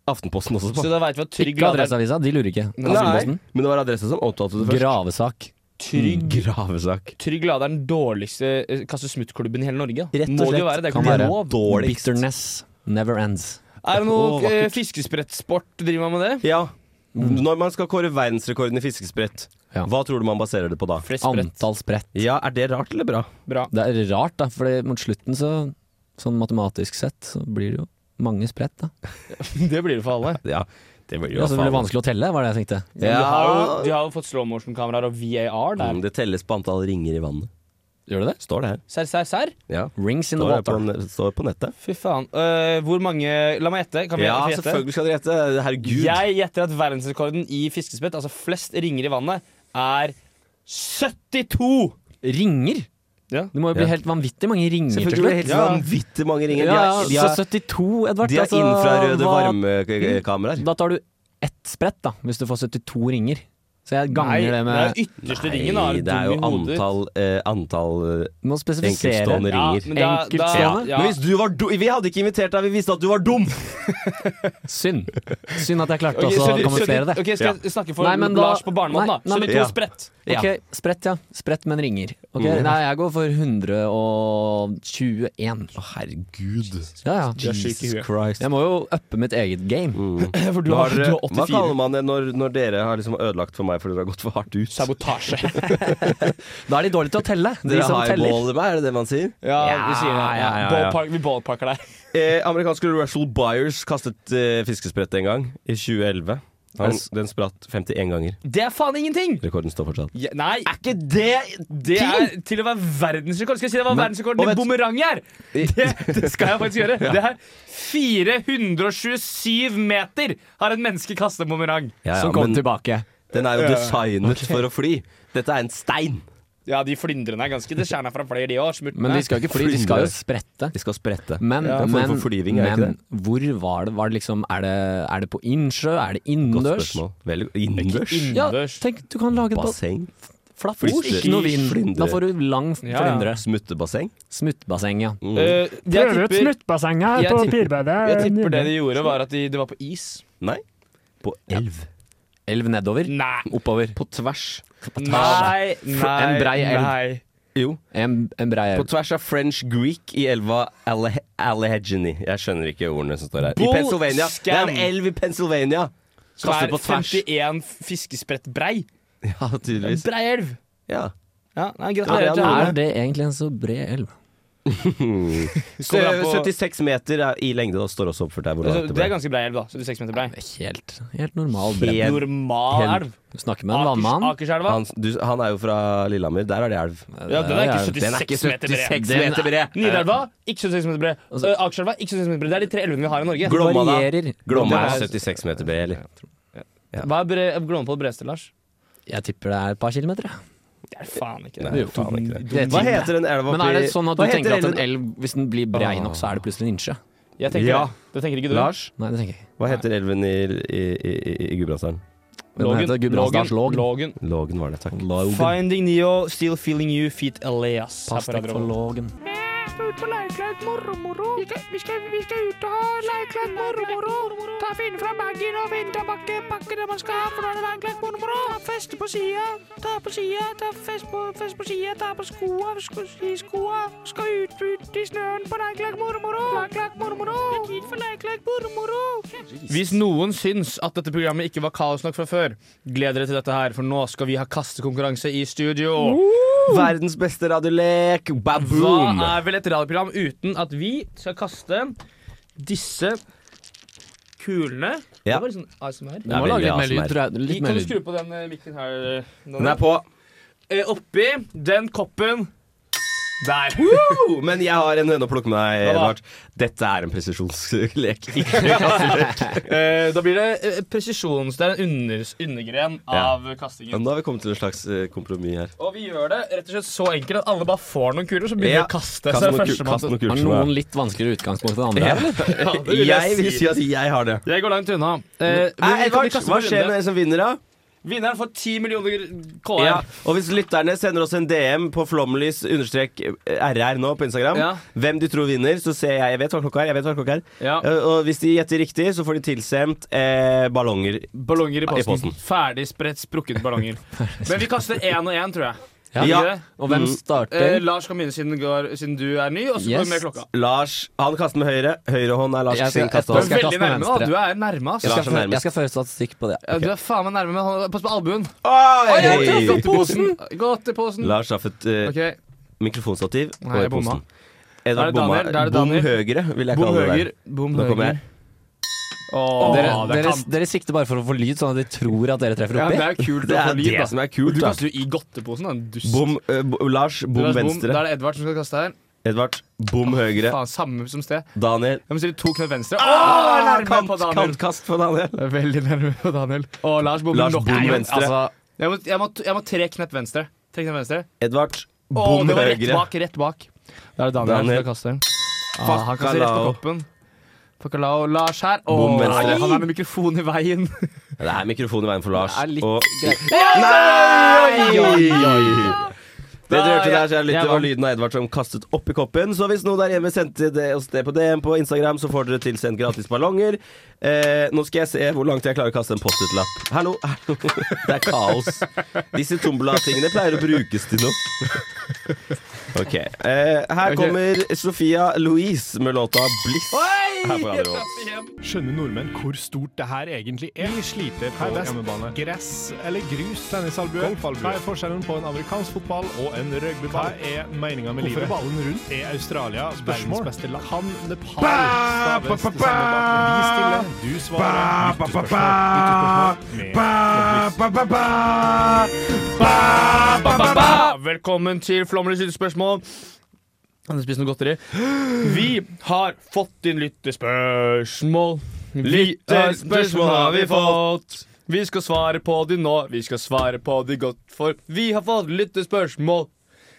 [SPEAKER 6] Aftenposten også på.
[SPEAKER 4] Så da veit vi at Trygg
[SPEAKER 5] Ikke
[SPEAKER 4] Lade er
[SPEAKER 5] Adresseavisa, de lurer ikke. Altså,
[SPEAKER 6] Nei,
[SPEAKER 5] Aftenposten.
[SPEAKER 6] men det var adressa som omtalte det først.
[SPEAKER 5] Gravesak.
[SPEAKER 4] Trygg,
[SPEAKER 6] Gravesak.
[SPEAKER 4] trygg Lade er den dårligste eh, kaste smuttklubben i hele Norge. Da.
[SPEAKER 6] Rett og
[SPEAKER 4] Må det jo
[SPEAKER 6] slett
[SPEAKER 4] være det.
[SPEAKER 6] kan
[SPEAKER 4] Det er
[SPEAKER 6] være.
[SPEAKER 4] lov.
[SPEAKER 6] Dårligst.
[SPEAKER 5] Bitterness never ends.
[SPEAKER 4] Er det
[SPEAKER 6] Å,
[SPEAKER 4] noe
[SPEAKER 6] vakkert.
[SPEAKER 4] eh, fiskesprettsport driver man med det?
[SPEAKER 6] Ja. Når man skal kåre verdensrekorden i fiskesprett,
[SPEAKER 5] Ja.
[SPEAKER 6] hva tror du man baserer det på da?
[SPEAKER 4] Flest brett.
[SPEAKER 5] Antall sprett.
[SPEAKER 6] Ja, er det rart eller bra?
[SPEAKER 4] Bra.
[SPEAKER 5] Det er rart, da, for mot slutten, så, sånn matematisk sett, så blir det jo mange sprett, da.
[SPEAKER 4] Det blir det for alle.
[SPEAKER 6] Ja, det blir jo
[SPEAKER 5] Ja, så det blir
[SPEAKER 6] faen-
[SPEAKER 5] vanskelig å telle, var det jeg tenkte.
[SPEAKER 4] De
[SPEAKER 6] Ja.
[SPEAKER 4] har jo, de har jo fått slow motion-kameraer og VAR der.
[SPEAKER 6] Mm, Det telles på antall ringer i vannet.
[SPEAKER 5] Gjør det det?
[SPEAKER 6] Står det her.
[SPEAKER 4] Serr, serr, serr.
[SPEAKER 6] Ja.
[SPEAKER 5] Rings in the
[SPEAKER 6] Står, her på,
[SPEAKER 5] water.
[SPEAKER 6] ne- står på nettet.
[SPEAKER 4] Fy faen. Eh, hvor mange La meg gjette. Kan vi
[SPEAKER 6] Ja,
[SPEAKER 4] få gjette?
[SPEAKER 6] selvfølgelig skal dere gjette. Herregud.
[SPEAKER 4] Jeg gjetter at verdensrekorden i fiskespett, altså flest ringer i vannet, er 72!
[SPEAKER 5] Ringer?
[SPEAKER 4] Ja.
[SPEAKER 5] Det må jo bli
[SPEAKER 6] Ja.
[SPEAKER 5] helt vanvittig mange ringer til
[SPEAKER 6] Selvfølgelig blir
[SPEAKER 5] slutt.
[SPEAKER 6] det helt
[SPEAKER 4] Ja.
[SPEAKER 6] vanvittig mange
[SPEAKER 5] Ja,
[SPEAKER 6] ringer. De
[SPEAKER 5] ja,
[SPEAKER 6] har, de har,
[SPEAKER 5] så 72, Edvard.
[SPEAKER 6] de har
[SPEAKER 5] altså,
[SPEAKER 6] infrarøde
[SPEAKER 5] hva- Mm.
[SPEAKER 6] varmekameraer.
[SPEAKER 5] Da tar du ett sprett, da, hvis du får 72 ringer. Så jeg
[SPEAKER 4] Nei,
[SPEAKER 5] ganger
[SPEAKER 4] det
[SPEAKER 5] det
[SPEAKER 4] er
[SPEAKER 5] med
[SPEAKER 4] ytterste
[SPEAKER 6] Nei,
[SPEAKER 4] ringen. Da,
[SPEAKER 6] det er jo
[SPEAKER 4] dum i hodet.
[SPEAKER 6] antall, eh, antall eh,
[SPEAKER 5] Du må spesifisere.
[SPEAKER 6] enkeltstående ringer.
[SPEAKER 4] men da, da, ja.
[SPEAKER 5] Enkeltstående?
[SPEAKER 6] Men hvis du var dum Vi hadde ikke invitert deg, vi visste at du var dum!
[SPEAKER 5] Synd. Synd at jeg klarte
[SPEAKER 4] Ok,
[SPEAKER 5] også
[SPEAKER 4] så du-
[SPEAKER 5] å kamuflere det.
[SPEAKER 4] Ok, Skal jeg snakke for
[SPEAKER 5] Nei, men da-
[SPEAKER 4] Lars på barnemåten, da?
[SPEAKER 5] Nei, nei, men-
[SPEAKER 4] 72
[SPEAKER 6] Ja.
[SPEAKER 4] sprett.
[SPEAKER 6] Ja. Mm.
[SPEAKER 5] Ok, Sprett, ja. Sprett, men ringer. Ok, Nei, jeg går for 121.
[SPEAKER 6] Å, herregud.
[SPEAKER 5] Ja, ja.
[SPEAKER 6] Jesus Christ.
[SPEAKER 5] Jeg må jo uppe mitt eget game.
[SPEAKER 4] For du
[SPEAKER 6] Mm. Hva
[SPEAKER 4] har, du
[SPEAKER 6] er
[SPEAKER 5] eh,
[SPEAKER 4] har
[SPEAKER 6] det- Hva kaller
[SPEAKER 4] 84.
[SPEAKER 6] man det når, når dere har liksom ødelagt for meg fordi dere har gått for hardt ut?
[SPEAKER 4] Sabotasje.
[SPEAKER 5] Da er de dårlige til å telle, de
[SPEAKER 6] Dere
[SPEAKER 5] som teller.
[SPEAKER 6] highballer meg, er det det man sier?
[SPEAKER 4] Ja, vi sier det. Ja,
[SPEAKER 6] ja, ja, ja.
[SPEAKER 4] Ballpark, vi ballparker deg.
[SPEAKER 6] Eh, amerikanske Russell Byers kastet eh, fiskesprett en gang, i 2011. Han, den spratt 51 ganger.
[SPEAKER 4] Det er faen ingenting!
[SPEAKER 6] Rekorden står fortsatt.
[SPEAKER 4] Ja, nei, er ikke det Det er til å være verdensrekord. Skal jeg si det var verdensrekorden
[SPEAKER 6] og
[SPEAKER 4] i
[SPEAKER 6] vet-
[SPEAKER 4] bumerang her? Det, det skal jeg faktisk gjøre. Det er 427 meter har et menneske kastet bumerang.
[SPEAKER 6] Ja, ja,
[SPEAKER 5] Som kom
[SPEAKER 6] men
[SPEAKER 5] tilbake.
[SPEAKER 6] Den er jo designet for å fly. Dette er en stein.
[SPEAKER 4] Ja, de flyndrene er ganske Det skjerna fra flere, de òg.
[SPEAKER 5] Men de skal ikke fly, de skal jo sprette.
[SPEAKER 6] De skal sprette.
[SPEAKER 5] Men,
[SPEAKER 6] Det er en form
[SPEAKER 5] men,
[SPEAKER 6] for flyving, er det ikke
[SPEAKER 5] men hvor var det? Var det liksom, er, det, er det på innsjø? Er det
[SPEAKER 6] Godt
[SPEAKER 5] innendørs?
[SPEAKER 6] spørsmål. Veldig Innendørs?
[SPEAKER 5] Ja,
[SPEAKER 4] Innendørs.
[SPEAKER 5] tenk, du kan lage et bas-
[SPEAKER 6] Basseng?
[SPEAKER 5] flatt
[SPEAKER 6] Flyt-
[SPEAKER 5] bord. Ikke noe vind.
[SPEAKER 6] flyndre.
[SPEAKER 5] Da får du lang
[SPEAKER 4] Ja, ja.
[SPEAKER 5] flyndre.
[SPEAKER 6] Smuttebasseng?
[SPEAKER 5] Smuttbasseng, ja.
[SPEAKER 6] Mm,
[SPEAKER 4] Uh, jeg, tipper,
[SPEAKER 2] smuttbasseng her
[SPEAKER 4] Jeg på tipper-
[SPEAKER 2] Pirbadet.
[SPEAKER 4] jeg tipper det de gjorde, var at de, det var på is.
[SPEAKER 6] Nei. På elv.
[SPEAKER 5] Elv nedover.
[SPEAKER 4] Nei.
[SPEAKER 5] Oppover.
[SPEAKER 6] På tvers.
[SPEAKER 4] Nei, nei,
[SPEAKER 5] En brei elv.
[SPEAKER 4] Nei.
[SPEAKER 6] Jo.
[SPEAKER 5] En, en brei
[SPEAKER 6] På
[SPEAKER 5] elv.
[SPEAKER 6] tvers av French Greek i elva Alle- Allegheny. Jeg skjønner ikke ordene som står her. I
[SPEAKER 4] Bull
[SPEAKER 6] Pennsylvania. Det er
[SPEAKER 4] scam.
[SPEAKER 6] en elv i Pennsylvania!
[SPEAKER 4] Som
[SPEAKER 6] Kastet
[SPEAKER 4] er
[SPEAKER 6] på tvers.
[SPEAKER 4] 51 fiskesprett brei.
[SPEAKER 6] Ja, tydeligvis.
[SPEAKER 4] Brei elv.
[SPEAKER 6] Ja.
[SPEAKER 4] Ja, nei,
[SPEAKER 6] Ja,
[SPEAKER 4] Gratulerer
[SPEAKER 6] det
[SPEAKER 4] til
[SPEAKER 6] er
[SPEAKER 4] alle.
[SPEAKER 5] Er det egentlig en så bred elv?
[SPEAKER 6] Så,
[SPEAKER 4] Kommer an på-
[SPEAKER 6] 76 meter er i lengde. Da står også oppført der hvor
[SPEAKER 4] Altså,
[SPEAKER 6] langt det
[SPEAKER 4] Det er
[SPEAKER 6] ble.
[SPEAKER 4] ganske brei elv, da. 76 meter brei.
[SPEAKER 5] Helt, helt normal bredd.
[SPEAKER 6] Helt-
[SPEAKER 4] Normal
[SPEAKER 6] helt-
[SPEAKER 4] elv.
[SPEAKER 5] Du snakker med en
[SPEAKER 4] Akers,
[SPEAKER 5] vannmann.
[SPEAKER 4] Akerselva.
[SPEAKER 6] Han, du, han er jo fra Lillehammer. Der er det elv.
[SPEAKER 4] Ja, den er ikke
[SPEAKER 5] Ja, ja.
[SPEAKER 4] 76
[SPEAKER 6] Den er ikke
[SPEAKER 4] meter bred.
[SPEAKER 6] 76 meter bred.
[SPEAKER 4] Nidelva, ikke 76 meter bred.
[SPEAKER 5] Altså-
[SPEAKER 4] Ø, Akerselva, ikke 76 meter bred. Det er de tre elvene vi har i Norge.
[SPEAKER 6] Glomma, da?
[SPEAKER 5] Varierer.
[SPEAKER 6] Glomma
[SPEAKER 4] Det
[SPEAKER 6] er
[SPEAKER 4] er-
[SPEAKER 6] 76 meter bred, eller?
[SPEAKER 4] Hva er bre- Glomma på det bredeste, Lars?
[SPEAKER 5] Jeg tipper det er et par kilometer. ja.
[SPEAKER 4] Det er faen ikke
[SPEAKER 6] Nei,
[SPEAKER 4] det.
[SPEAKER 6] faen ikke det.
[SPEAKER 5] Det
[SPEAKER 6] Hva
[SPEAKER 5] tipper jeg.
[SPEAKER 6] heter den elva
[SPEAKER 5] Men er det sånn at du
[SPEAKER 6] Hva heter
[SPEAKER 5] tenker at
[SPEAKER 6] elven- Ah.
[SPEAKER 5] en elv, hvis den blir brei nok, så er det plutselig en innsjø?
[SPEAKER 4] Jeg tenker
[SPEAKER 6] Ja.
[SPEAKER 4] det. Det tenker ikke du?
[SPEAKER 6] Lars,
[SPEAKER 5] Nei, det tenker jeg ikke.
[SPEAKER 6] hva heter elven i, i, i, i- i Gudbrandsdalen?
[SPEAKER 5] Den heter Gudbrandsdals Lågen.
[SPEAKER 4] Lågen.
[SPEAKER 6] Lågen var det, takk.
[SPEAKER 4] Finding Neo, still feeling you, feet Elias.
[SPEAKER 5] Pass deg for lågen.
[SPEAKER 4] Hvis noen syns at dette programmet ikke var kaos nok fra før, gled dere til dette her, for nå skal vi ha kastekonkurranse i studio.
[SPEAKER 6] Verdens beste radiolek! Baboom!
[SPEAKER 4] Hva er vel et radioprogram uten at vi skal kaste disse kulene?
[SPEAKER 6] Ja.
[SPEAKER 4] Det var litt sånn ASMR.
[SPEAKER 5] Du
[SPEAKER 6] er
[SPEAKER 5] må lage
[SPEAKER 6] veldig
[SPEAKER 5] litt mer lyd.
[SPEAKER 6] ASMR.
[SPEAKER 5] tror jeg. Litt
[SPEAKER 4] kan du
[SPEAKER 5] mer lyd.
[SPEAKER 4] skru på den eh, mikken her? eh,
[SPEAKER 6] Den
[SPEAKER 4] Daniel?
[SPEAKER 6] er på.
[SPEAKER 4] Eh, oppi den koppen der.
[SPEAKER 6] Woo! Men jeg har en høne å plukke med deg,
[SPEAKER 4] Hva da?
[SPEAKER 6] Edvard. Dette er en presisjonslek.
[SPEAKER 4] Eh, da blir det eh, presisjons... Det er en under, undergren
[SPEAKER 6] Ja.
[SPEAKER 4] av
[SPEAKER 6] Ja,
[SPEAKER 4] kastingen.
[SPEAKER 6] Nå har vi kommet til et slags eh, kompromiss her.
[SPEAKER 4] Og vi gjør det rett og slett så enkelt at alle bare får noen kuler, så begynner vi
[SPEAKER 6] Ja.
[SPEAKER 4] å kaste.
[SPEAKER 6] Kast
[SPEAKER 4] Så
[SPEAKER 6] noen, ku-
[SPEAKER 4] førstemann
[SPEAKER 6] kast
[SPEAKER 4] som-
[SPEAKER 6] noen
[SPEAKER 5] Har
[SPEAKER 6] kurser
[SPEAKER 5] noen
[SPEAKER 6] nå.
[SPEAKER 5] litt vanskeligere utgangspunkt enn andre? eller?
[SPEAKER 4] Ja, det vil
[SPEAKER 6] Jeg vil
[SPEAKER 4] si.
[SPEAKER 6] si at jeg har det.
[SPEAKER 4] Jeg går langt unna. Eh, men
[SPEAKER 6] Nei,
[SPEAKER 4] vi kan- vi
[SPEAKER 6] Edvard,
[SPEAKER 4] kaster
[SPEAKER 6] hva
[SPEAKER 4] på
[SPEAKER 6] skjer
[SPEAKER 4] runde.
[SPEAKER 6] med den som vinner, da?
[SPEAKER 4] Vinneren får 10 millioner KR.
[SPEAKER 6] Ja, og hvis lytterne sender oss en DM på flomlys understrek RR nå på Instagram,
[SPEAKER 4] Ja.
[SPEAKER 6] hvem de tror vinner, så ser jeg Jeg vet hva klokka er. jeg vet hva klokka er
[SPEAKER 4] Ja.
[SPEAKER 6] Eh, Og hvis de gjetter riktig, så får de tilsendt eh, ballonger.
[SPEAKER 4] Ballonger i
[SPEAKER 6] I
[SPEAKER 4] posten.
[SPEAKER 6] posten.
[SPEAKER 4] Ferdig spredt, sprukket ballonger. Men vi kaster én og én, tror jeg.
[SPEAKER 5] Ja.
[SPEAKER 4] Gjør vi
[SPEAKER 6] Ja.
[SPEAKER 4] det?
[SPEAKER 5] Og hvem
[SPEAKER 6] Mm.
[SPEAKER 4] Eh,
[SPEAKER 5] starter?
[SPEAKER 4] Lars kan begynne siden, går, siden du er ny, og så
[SPEAKER 5] Yes.
[SPEAKER 4] går vi med klokka.
[SPEAKER 6] Lars Han kaster med høyre. Høyrehånd er Lars
[SPEAKER 5] Jeg-
[SPEAKER 6] sin
[SPEAKER 5] jeg-
[SPEAKER 6] kaste
[SPEAKER 4] Du
[SPEAKER 5] Da
[SPEAKER 4] er
[SPEAKER 5] skal jeg
[SPEAKER 4] veldig
[SPEAKER 5] kaste med
[SPEAKER 4] nærme, da.
[SPEAKER 5] venstre.
[SPEAKER 4] Du er nærme, ass.
[SPEAKER 5] Jeg skal,
[SPEAKER 6] Lars er
[SPEAKER 5] føre,
[SPEAKER 6] nærmest.
[SPEAKER 5] jeg skal føre statistikk på det.
[SPEAKER 4] Ja, Du er faen meg nærme, men han- pass på albuen.
[SPEAKER 6] Oi!
[SPEAKER 4] Godt i posen.
[SPEAKER 6] Lars traff et eh,
[SPEAKER 4] Ok,
[SPEAKER 6] mikrofonstativ
[SPEAKER 4] Nei,
[SPEAKER 6] og i
[SPEAKER 4] jeg bomma.
[SPEAKER 6] posten.
[SPEAKER 4] Da er
[SPEAKER 6] Edvard
[SPEAKER 4] det
[SPEAKER 6] bomma.
[SPEAKER 4] Daniel, da er det
[SPEAKER 6] Bom
[SPEAKER 4] Daniel.
[SPEAKER 6] høyre, vil jeg
[SPEAKER 4] Bom
[SPEAKER 6] kalle det.
[SPEAKER 4] høyre.
[SPEAKER 6] der.
[SPEAKER 4] Bom
[SPEAKER 6] Nå kommer jeg.
[SPEAKER 4] høyre. Åh,
[SPEAKER 5] Dere,
[SPEAKER 4] det er
[SPEAKER 5] dere,
[SPEAKER 4] kamp.
[SPEAKER 5] dere sikter bare for å få lyd, sånn at de tror at dere treffer
[SPEAKER 4] Ja,
[SPEAKER 5] oppi.
[SPEAKER 4] det er jo kult
[SPEAKER 6] Det
[SPEAKER 4] å få
[SPEAKER 6] er
[SPEAKER 4] lyd,
[SPEAKER 6] det
[SPEAKER 4] da.
[SPEAKER 6] som er
[SPEAKER 4] Og
[SPEAKER 6] kult,
[SPEAKER 4] Du
[SPEAKER 6] da.
[SPEAKER 4] kaster jo i godteposen, da, en dust.
[SPEAKER 6] Bom, eh, bo- Lars, bom
[SPEAKER 4] Lars Bom. Da
[SPEAKER 6] venstre.
[SPEAKER 4] er det Edvard som skal kaste her.
[SPEAKER 6] Edvard, bom høyre.
[SPEAKER 4] Faen, samme som sted.
[SPEAKER 6] Daniel.
[SPEAKER 4] Jeg må stille to knep venstre.
[SPEAKER 6] Ah,
[SPEAKER 4] Åh, nærme
[SPEAKER 6] Kant-
[SPEAKER 4] på Daniel.
[SPEAKER 6] Kantkast for Daniel.
[SPEAKER 4] Jeg er Veldig nærme på Daniel. Og Lars bommer
[SPEAKER 6] Lars
[SPEAKER 4] nok.
[SPEAKER 6] bom
[SPEAKER 4] Nei,
[SPEAKER 6] venstre.
[SPEAKER 4] altså, jeg, må, jeg, må, jeg må tre knep venstre. Tre knep venstre.
[SPEAKER 6] Edvard,
[SPEAKER 4] Å,
[SPEAKER 6] bom
[SPEAKER 4] det var rett
[SPEAKER 6] høyre.
[SPEAKER 4] bak, rett bak. Da er det Daniel, som
[SPEAKER 6] Daniel.
[SPEAKER 4] skal kaste. Ah, han kaster rett på
[SPEAKER 6] Bacalao.
[SPEAKER 4] koppen. Bacalao. Lars her. Å,
[SPEAKER 6] Bom venstre.
[SPEAKER 4] nei, han er med mikrofonen i veien.
[SPEAKER 6] Det er mikrofonen i veien for Lars.
[SPEAKER 5] Det er litt
[SPEAKER 6] og...
[SPEAKER 5] greit.
[SPEAKER 6] Nei! Oi, oi. Det du
[SPEAKER 4] Da,
[SPEAKER 6] hørte der, så er litt,
[SPEAKER 4] jeg
[SPEAKER 6] det var
[SPEAKER 4] vant.
[SPEAKER 6] lyden av Edvard som kastet oppi koppen. Så hvis noen der hjemme sendte det, oss det på DM på Instagram, så får dere tilsendt gratis ballonger. Eh, nå skal jeg se hvor langt jeg klarer å kaste en Post-It-lapp. Hallo, hallo. Det er kaos. Disse Tombola-tingene pleier å brukes til noe. Ok. Eh, her
[SPEAKER 4] Ok.
[SPEAKER 6] kommer Sofia Louise med låta 'Bliss' her på Radio Revolt.
[SPEAKER 7] Skjønner nordmenn hvor stort det her egentlig er? Vi sliter på hjemmebane. Gress eller grus? Tennisalbue. Hva er forskjellen på en amerikansk fotball og en rugbyball? Hva er meninga med livet? Hvorfor er ballen rundt? Er Australia verdens beste land? Kan Nepal staves til samme land? Vi stiller, du svarer. Lyttespørsmål. Lyttespørsmål. Med
[SPEAKER 4] Ba, ba. Velkommen til Flommerens lyttespørsmål. Kan du spise noe godteri? Vi har fått inn lyttespørsmål. Lyttespørsmål har vi fått. Vi skal svare på de nå, vi skal svare på de godt, for vi har fått lyttespørsmål.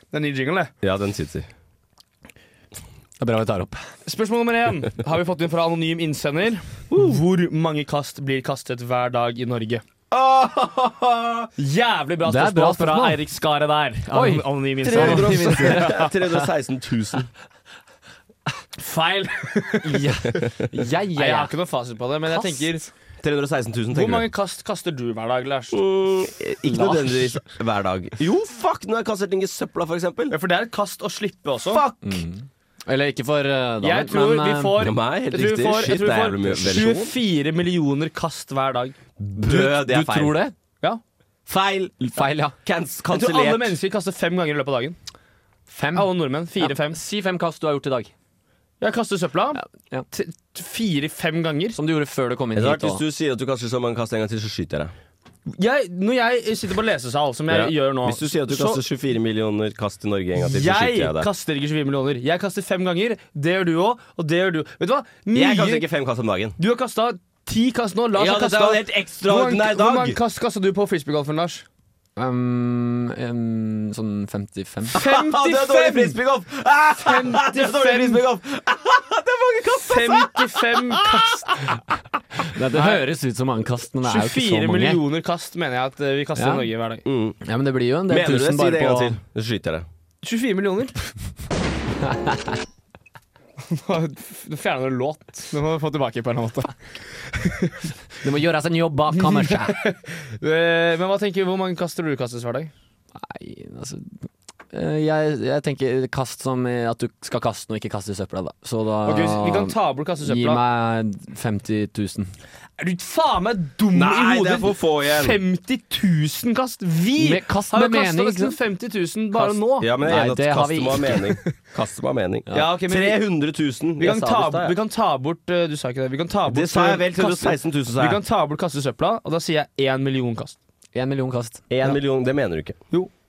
[SPEAKER 4] Det er ny jingle, det.
[SPEAKER 6] Ja, den sitter.
[SPEAKER 5] Det er bra vi tar opp.
[SPEAKER 4] Spørsmål nummer én har vi fått inn fra anonym innsender. Hvor mange kast blir kastet hver dag i Norge? Jævlig bra
[SPEAKER 5] Det er
[SPEAKER 4] spørsmål,
[SPEAKER 5] bra spørsmål.
[SPEAKER 4] fra Eirik Skare der.
[SPEAKER 5] Oi.
[SPEAKER 4] An- Anonym innsender.
[SPEAKER 6] 316 000.
[SPEAKER 4] Feil.
[SPEAKER 5] Ja, ja,
[SPEAKER 4] Nei, jeg
[SPEAKER 5] ja.
[SPEAKER 4] har ikke noen fasit på det, men jeg
[SPEAKER 5] Kast?
[SPEAKER 4] tenker
[SPEAKER 6] 316 000,
[SPEAKER 4] Hvor
[SPEAKER 6] tenker
[SPEAKER 4] mange
[SPEAKER 6] du?
[SPEAKER 4] kast kaster du hver dag, Lars?
[SPEAKER 6] Mm, ikke nødvendigvis hver dag. Jo, fuck! Nå har jeg kastet ting i søpla, for eksempel.
[SPEAKER 4] Ja, For det er et kast å slippe også.
[SPEAKER 6] Fuck!
[SPEAKER 5] Eller ikke for uh, Daniel,
[SPEAKER 4] Jeg tror
[SPEAKER 5] men
[SPEAKER 4] vi
[SPEAKER 5] eh,
[SPEAKER 4] får
[SPEAKER 6] Ja, nei, helt
[SPEAKER 4] jeg tror vi
[SPEAKER 6] riktig.
[SPEAKER 4] får- jeg
[SPEAKER 6] Shit,
[SPEAKER 4] tror vi
[SPEAKER 6] det er
[SPEAKER 4] får
[SPEAKER 6] jævlig mye versjon.
[SPEAKER 4] 24 millioner kast hver dag.
[SPEAKER 6] Brød, det
[SPEAKER 5] Du
[SPEAKER 6] er feil.
[SPEAKER 5] tror det?
[SPEAKER 6] Feil!
[SPEAKER 5] Feil, ja.
[SPEAKER 6] Kans
[SPEAKER 4] Jeg tror alle
[SPEAKER 6] Kansellert.
[SPEAKER 4] mennesker kaster fem ganger i løpet av dagen.
[SPEAKER 5] Fem.
[SPEAKER 4] Alle nordmenn. Fire-fem.
[SPEAKER 5] Si fem kast du har gjort i dag.
[SPEAKER 4] Jeg kaster søpla
[SPEAKER 5] Ja.
[SPEAKER 4] fire-fem ganger.
[SPEAKER 5] Som du gjorde før du kom inn
[SPEAKER 6] Edvard,
[SPEAKER 5] hit.
[SPEAKER 6] hvis
[SPEAKER 5] Også.
[SPEAKER 6] du sier at du kaster så mange kast en gang til, så skyter jeg deg.
[SPEAKER 4] Jeg, når jeg sitter på lesesal, som jeg
[SPEAKER 6] Ja.
[SPEAKER 4] gjør nå
[SPEAKER 6] Hvis du sier at du
[SPEAKER 4] så-
[SPEAKER 6] kaster 24 millioner kast i Norge en gang til, så skyter
[SPEAKER 4] jeg
[SPEAKER 6] jeg deg.
[SPEAKER 4] kaster ikke 24 millioner. Jeg kaster fem ganger. Det gjør du òg, og det gjør du. Vet du hva?
[SPEAKER 6] Jeg
[SPEAKER 4] Mye-
[SPEAKER 6] kaster ikke fem kast om dagen. Mm.
[SPEAKER 4] Du har kasta ti kast nå. Lars
[SPEAKER 6] Ja,
[SPEAKER 4] har
[SPEAKER 6] dette er jo en
[SPEAKER 4] kasta
[SPEAKER 6] helt
[SPEAKER 4] Hvor mange-
[SPEAKER 6] ekstraordinær
[SPEAKER 4] Hvor mange
[SPEAKER 6] dag.
[SPEAKER 4] kast kasta du på frisbeegolfen, Lars?
[SPEAKER 5] Um, em, sånn 55.
[SPEAKER 6] Ah, det er dårlig frisbeegolf! Ah, det er dårlig
[SPEAKER 4] 55.
[SPEAKER 6] frisbeegolf! altså.
[SPEAKER 4] 55 kast!
[SPEAKER 5] Nei, det høres ut som mange kast, men det er jo ikke så
[SPEAKER 4] 24
[SPEAKER 5] mange.
[SPEAKER 4] millioner kast mener jeg at eh, vi kaster
[SPEAKER 5] Ja.
[SPEAKER 4] i Norge hver dag.
[SPEAKER 6] Mm.
[SPEAKER 5] Ja, men det blir jo en del
[SPEAKER 6] Mener du det?
[SPEAKER 5] tusen
[SPEAKER 6] Si
[SPEAKER 5] bare
[SPEAKER 6] det en gang
[SPEAKER 5] på
[SPEAKER 6] til, så skyter jeg deg.
[SPEAKER 4] 24 millioner? Nå fjerner du låt. Det må du få tilbake på en eller annen måte.
[SPEAKER 5] Det må gjøres en jobb bak kammerset.
[SPEAKER 4] Eh, Men hva tenker du, hvor mange kaster du kastes hver dag?
[SPEAKER 5] Nei, altså eh, jeg, jeg tenker kast som i at du skal kaste noe, ikke kaste i søpla. Da. Så da
[SPEAKER 4] Ok, hvis vi kan ta bort
[SPEAKER 5] gi
[SPEAKER 4] kastesøpla.
[SPEAKER 5] meg 50 000.
[SPEAKER 4] Er du faen meg dum i
[SPEAKER 6] Nei, det
[SPEAKER 4] hodet?
[SPEAKER 6] er for få igjen.
[SPEAKER 4] 50 000 kast! Vi
[SPEAKER 5] Med kast
[SPEAKER 4] har jo
[SPEAKER 5] med
[SPEAKER 4] kastet
[SPEAKER 5] mening, ikke
[SPEAKER 4] nesten 50 000 bare
[SPEAKER 5] Kast-
[SPEAKER 4] nå.
[SPEAKER 6] Ja, men
[SPEAKER 5] Nei,
[SPEAKER 6] jeg er enig at
[SPEAKER 5] det har
[SPEAKER 6] kastet
[SPEAKER 5] vi
[SPEAKER 6] må ha mening. Kastet må ha mening.
[SPEAKER 4] Ja, ok, men vi- Vi
[SPEAKER 6] 300 000.
[SPEAKER 4] kan,
[SPEAKER 6] Jeg sa det i
[SPEAKER 4] ta,
[SPEAKER 6] stad,
[SPEAKER 4] vi
[SPEAKER 6] jeg.
[SPEAKER 4] kan ta bort eh, Du sa ikke det. Vi kan ta bort
[SPEAKER 6] Det sa jeg
[SPEAKER 4] eh,
[SPEAKER 6] vel. 316 000,
[SPEAKER 4] Vi
[SPEAKER 6] sa
[SPEAKER 4] kan
[SPEAKER 6] jeg.
[SPEAKER 4] ta bort kastesøpla, og da sier jeg én million kast.
[SPEAKER 5] Én million kast.
[SPEAKER 6] En million, det mener du ikke.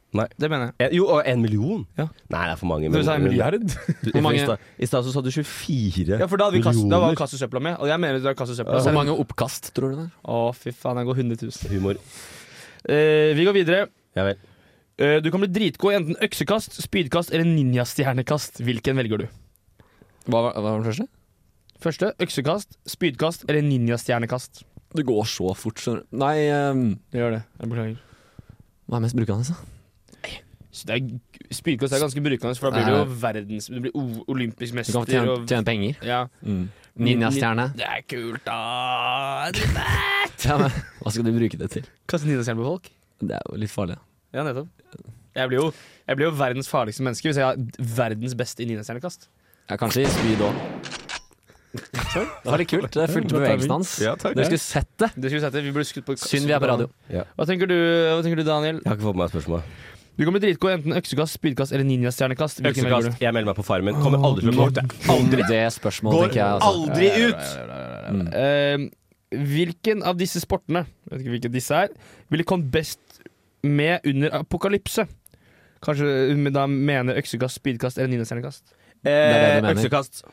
[SPEAKER 4] Det mener jeg.
[SPEAKER 6] En, Eh, jo, og en million?
[SPEAKER 4] Ja.
[SPEAKER 6] Nei, det er for mange.
[SPEAKER 4] Du sa en milliard?
[SPEAKER 6] Du-
[SPEAKER 4] Hvor mange-
[SPEAKER 6] i stad- I stad så sa du 24
[SPEAKER 4] Ja, for da, hadde vi kast, da var
[SPEAKER 6] millioner.
[SPEAKER 4] kastesøpla med, og jeg mener du har kastesøpla.
[SPEAKER 5] Hvor
[SPEAKER 4] selv om-
[SPEAKER 5] mange oppkast, tror du det er?
[SPEAKER 4] Å, fy faen, jeg går 100 000.
[SPEAKER 6] Humor.
[SPEAKER 4] Eh, vi går videre.
[SPEAKER 6] Ja vel.
[SPEAKER 4] Eh, du kan bli dritgod i enten øksekast, spydkast eller ninjastjernekast. Hvilken velger du?
[SPEAKER 5] Hva var, hva var den første?
[SPEAKER 4] Første øksekast, spydkast eller ninjastjernekast.
[SPEAKER 5] Det går så fort, skjønner du. Nei, ehm,
[SPEAKER 4] Det gjør det. Jeg beklager.
[SPEAKER 5] hva er mest altså? brukende, da?
[SPEAKER 4] Så det er, spydkost er ganske brukende, for da blir du
[SPEAKER 5] Nei.
[SPEAKER 4] jo verdens Du blir o- olympisk
[SPEAKER 5] Du kan
[SPEAKER 4] mester
[SPEAKER 5] tjene,
[SPEAKER 4] og
[SPEAKER 5] tjene penger.
[SPEAKER 4] ja.
[SPEAKER 5] Mm. Ninjastjerne.
[SPEAKER 4] Det er kult, da!
[SPEAKER 5] Ja, men hva skal du bruke det til?
[SPEAKER 4] Kaste ninjastjerne på folk?
[SPEAKER 5] Det er jo litt farlig.
[SPEAKER 4] Ja, nettopp. Jeg blir jo, jeg blir jo verdens farligste menneske hvis jeg har verdens beste i ninjastjernekast.
[SPEAKER 5] Ja, kanskje i speed òg. Det var litt kult. Jeg fulgte
[SPEAKER 4] Bra timing.
[SPEAKER 5] bevegelsen hans.
[SPEAKER 6] Ja, takk.
[SPEAKER 5] Dere skulle sett det.
[SPEAKER 4] Det skulle vi sett det. Vi burde skutt på
[SPEAKER 5] Synd vi er på radio.
[SPEAKER 4] Hva tenker du, hva tenker du Daniel?
[SPEAKER 6] Jeg har ikke fått med meg spørsmålet.
[SPEAKER 4] Du kan bli dritgod i enten øksekast, spydkast eller ninjastjernekast. Hvilken velger
[SPEAKER 6] Øksekast. Jeg melder meg på Farmen. Kommer aldri til å få ut det. Aldri!
[SPEAKER 5] Det spørsmålet
[SPEAKER 6] Går
[SPEAKER 5] tenker jeg, altså.
[SPEAKER 6] aldri ut!
[SPEAKER 4] du?
[SPEAKER 5] Mm.
[SPEAKER 4] Eh, hvilken av disse sportene jeg vet ikke hvilke disse er, ville kommet best med under apokalypse? Kanskje men da mener øksekast, spydkast eller ninjastjernekast?
[SPEAKER 5] er det
[SPEAKER 6] Eh,
[SPEAKER 5] du mener.
[SPEAKER 6] Øksekast.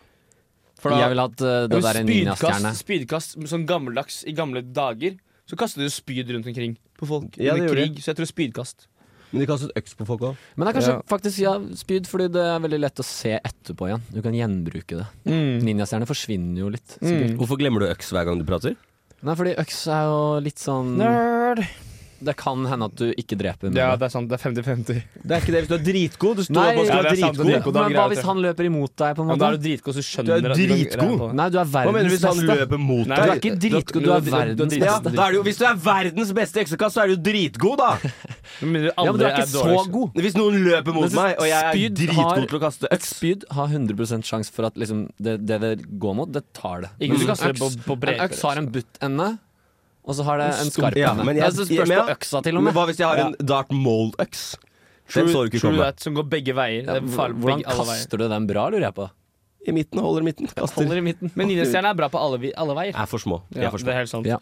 [SPEAKER 4] For da-
[SPEAKER 5] Jeg ville hatt eh, det
[SPEAKER 4] Ja,
[SPEAKER 5] der
[SPEAKER 4] men
[SPEAKER 5] ninjastjerne.
[SPEAKER 4] spydkast, spydkast sånn gammeldags i gamle dager. Så kastet du spyd rundt omkring på folk
[SPEAKER 6] Ja, det
[SPEAKER 4] under
[SPEAKER 6] gjorde
[SPEAKER 4] krig, så jeg tror spydkast.
[SPEAKER 6] Men de kastet øks på folk òg.
[SPEAKER 5] Men det er kanskje
[SPEAKER 4] Ja.
[SPEAKER 5] faktisk ja, spyd, fordi det er veldig lett å se etterpå igjen. Du kan gjenbruke det.
[SPEAKER 4] Mm.
[SPEAKER 5] Ninjastjerne forsvinner jo litt. sikkert.
[SPEAKER 6] Hvorfor glemmer du øks hver gang du prater?
[SPEAKER 5] Nei, fordi øks er jo litt
[SPEAKER 4] Mm.
[SPEAKER 5] sånn
[SPEAKER 4] Nerd.
[SPEAKER 5] Det kan hende at du ikke dreper med
[SPEAKER 4] Ja,
[SPEAKER 5] det.
[SPEAKER 4] det er sant. Det er 50-50.
[SPEAKER 6] Det er ikke det hvis du er dritgod. Du står
[SPEAKER 5] Nei,
[SPEAKER 6] opp og
[SPEAKER 5] ja,
[SPEAKER 6] skal
[SPEAKER 4] det
[SPEAKER 6] være
[SPEAKER 4] er sant, det er
[SPEAKER 6] dritgod.
[SPEAKER 4] dritgod.
[SPEAKER 5] Men hva
[SPEAKER 4] greit,
[SPEAKER 5] hvis han løper imot deg, på en
[SPEAKER 4] Ja, men da
[SPEAKER 5] måte?
[SPEAKER 4] er du dritgod, så skjønner
[SPEAKER 6] Du er
[SPEAKER 4] at kan-
[SPEAKER 6] dritgod.
[SPEAKER 4] Ja,
[SPEAKER 5] Nei, du er
[SPEAKER 6] Hva mener
[SPEAKER 5] verdens
[SPEAKER 6] du hvis han
[SPEAKER 5] beste.
[SPEAKER 6] løper mot
[SPEAKER 4] Nei,
[SPEAKER 5] Du
[SPEAKER 6] deg?
[SPEAKER 5] er ikke dritgod, du er verdens
[SPEAKER 4] dritgod.
[SPEAKER 6] Ja,
[SPEAKER 5] beste.
[SPEAKER 6] da er det jo, hvis du er verdens beste øksekast, så er du jo dritgod, da!
[SPEAKER 4] Men
[SPEAKER 5] Ja, men du
[SPEAKER 4] andre
[SPEAKER 5] er ikke så
[SPEAKER 4] dårligst.
[SPEAKER 5] god.
[SPEAKER 6] Hvis noen løper mot
[SPEAKER 5] Men så
[SPEAKER 6] meg, og jeg er
[SPEAKER 5] spyd har-
[SPEAKER 6] dritgod til å kaste øks
[SPEAKER 5] Spyd har 100 sjanse for at liksom, det, det det går mot, det tar det.
[SPEAKER 4] Ikke hvis du kaster det på, på
[SPEAKER 5] en
[SPEAKER 4] breker.
[SPEAKER 5] øks har en buttende, og så har det en skarp
[SPEAKER 6] Ja,
[SPEAKER 5] ende.
[SPEAKER 6] men
[SPEAKER 5] det
[SPEAKER 6] jeg-
[SPEAKER 5] er så spørs
[SPEAKER 6] men-
[SPEAKER 5] på øksa, til og
[SPEAKER 6] Men
[SPEAKER 5] med.
[SPEAKER 6] hva hvis jeg har en Dart Mold-øks? Den så du ikke
[SPEAKER 4] True
[SPEAKER 6] komme.
[SPEAKER 4] that, som går begge veier.
[SPEAKER 5] Ja,
[SPEAKER 4] Det er farlig
[SPEAKER 5] hvordan
[SPEAKER 4] begge alle veier.
[SPEAKER 5] kaster du den bra, lurer jeg på?
[SPEAKER 6] I midten, holder i midten. Kaster.
[SPEAKER 5] Holder i midten.
[SPEAKER 4] Men ninjastjerna er bra på alle, vi- alle veier.
[SPEAKER 6] Jeg er for små. Jeg
[SPEAKER 4] Ja,
[SPEAKER 6] er for
[SPEAKER 4] det er
[SPEAKER 6] små.
[SPEAKER 4] helt sant.
[SPEAKER 5] Ja.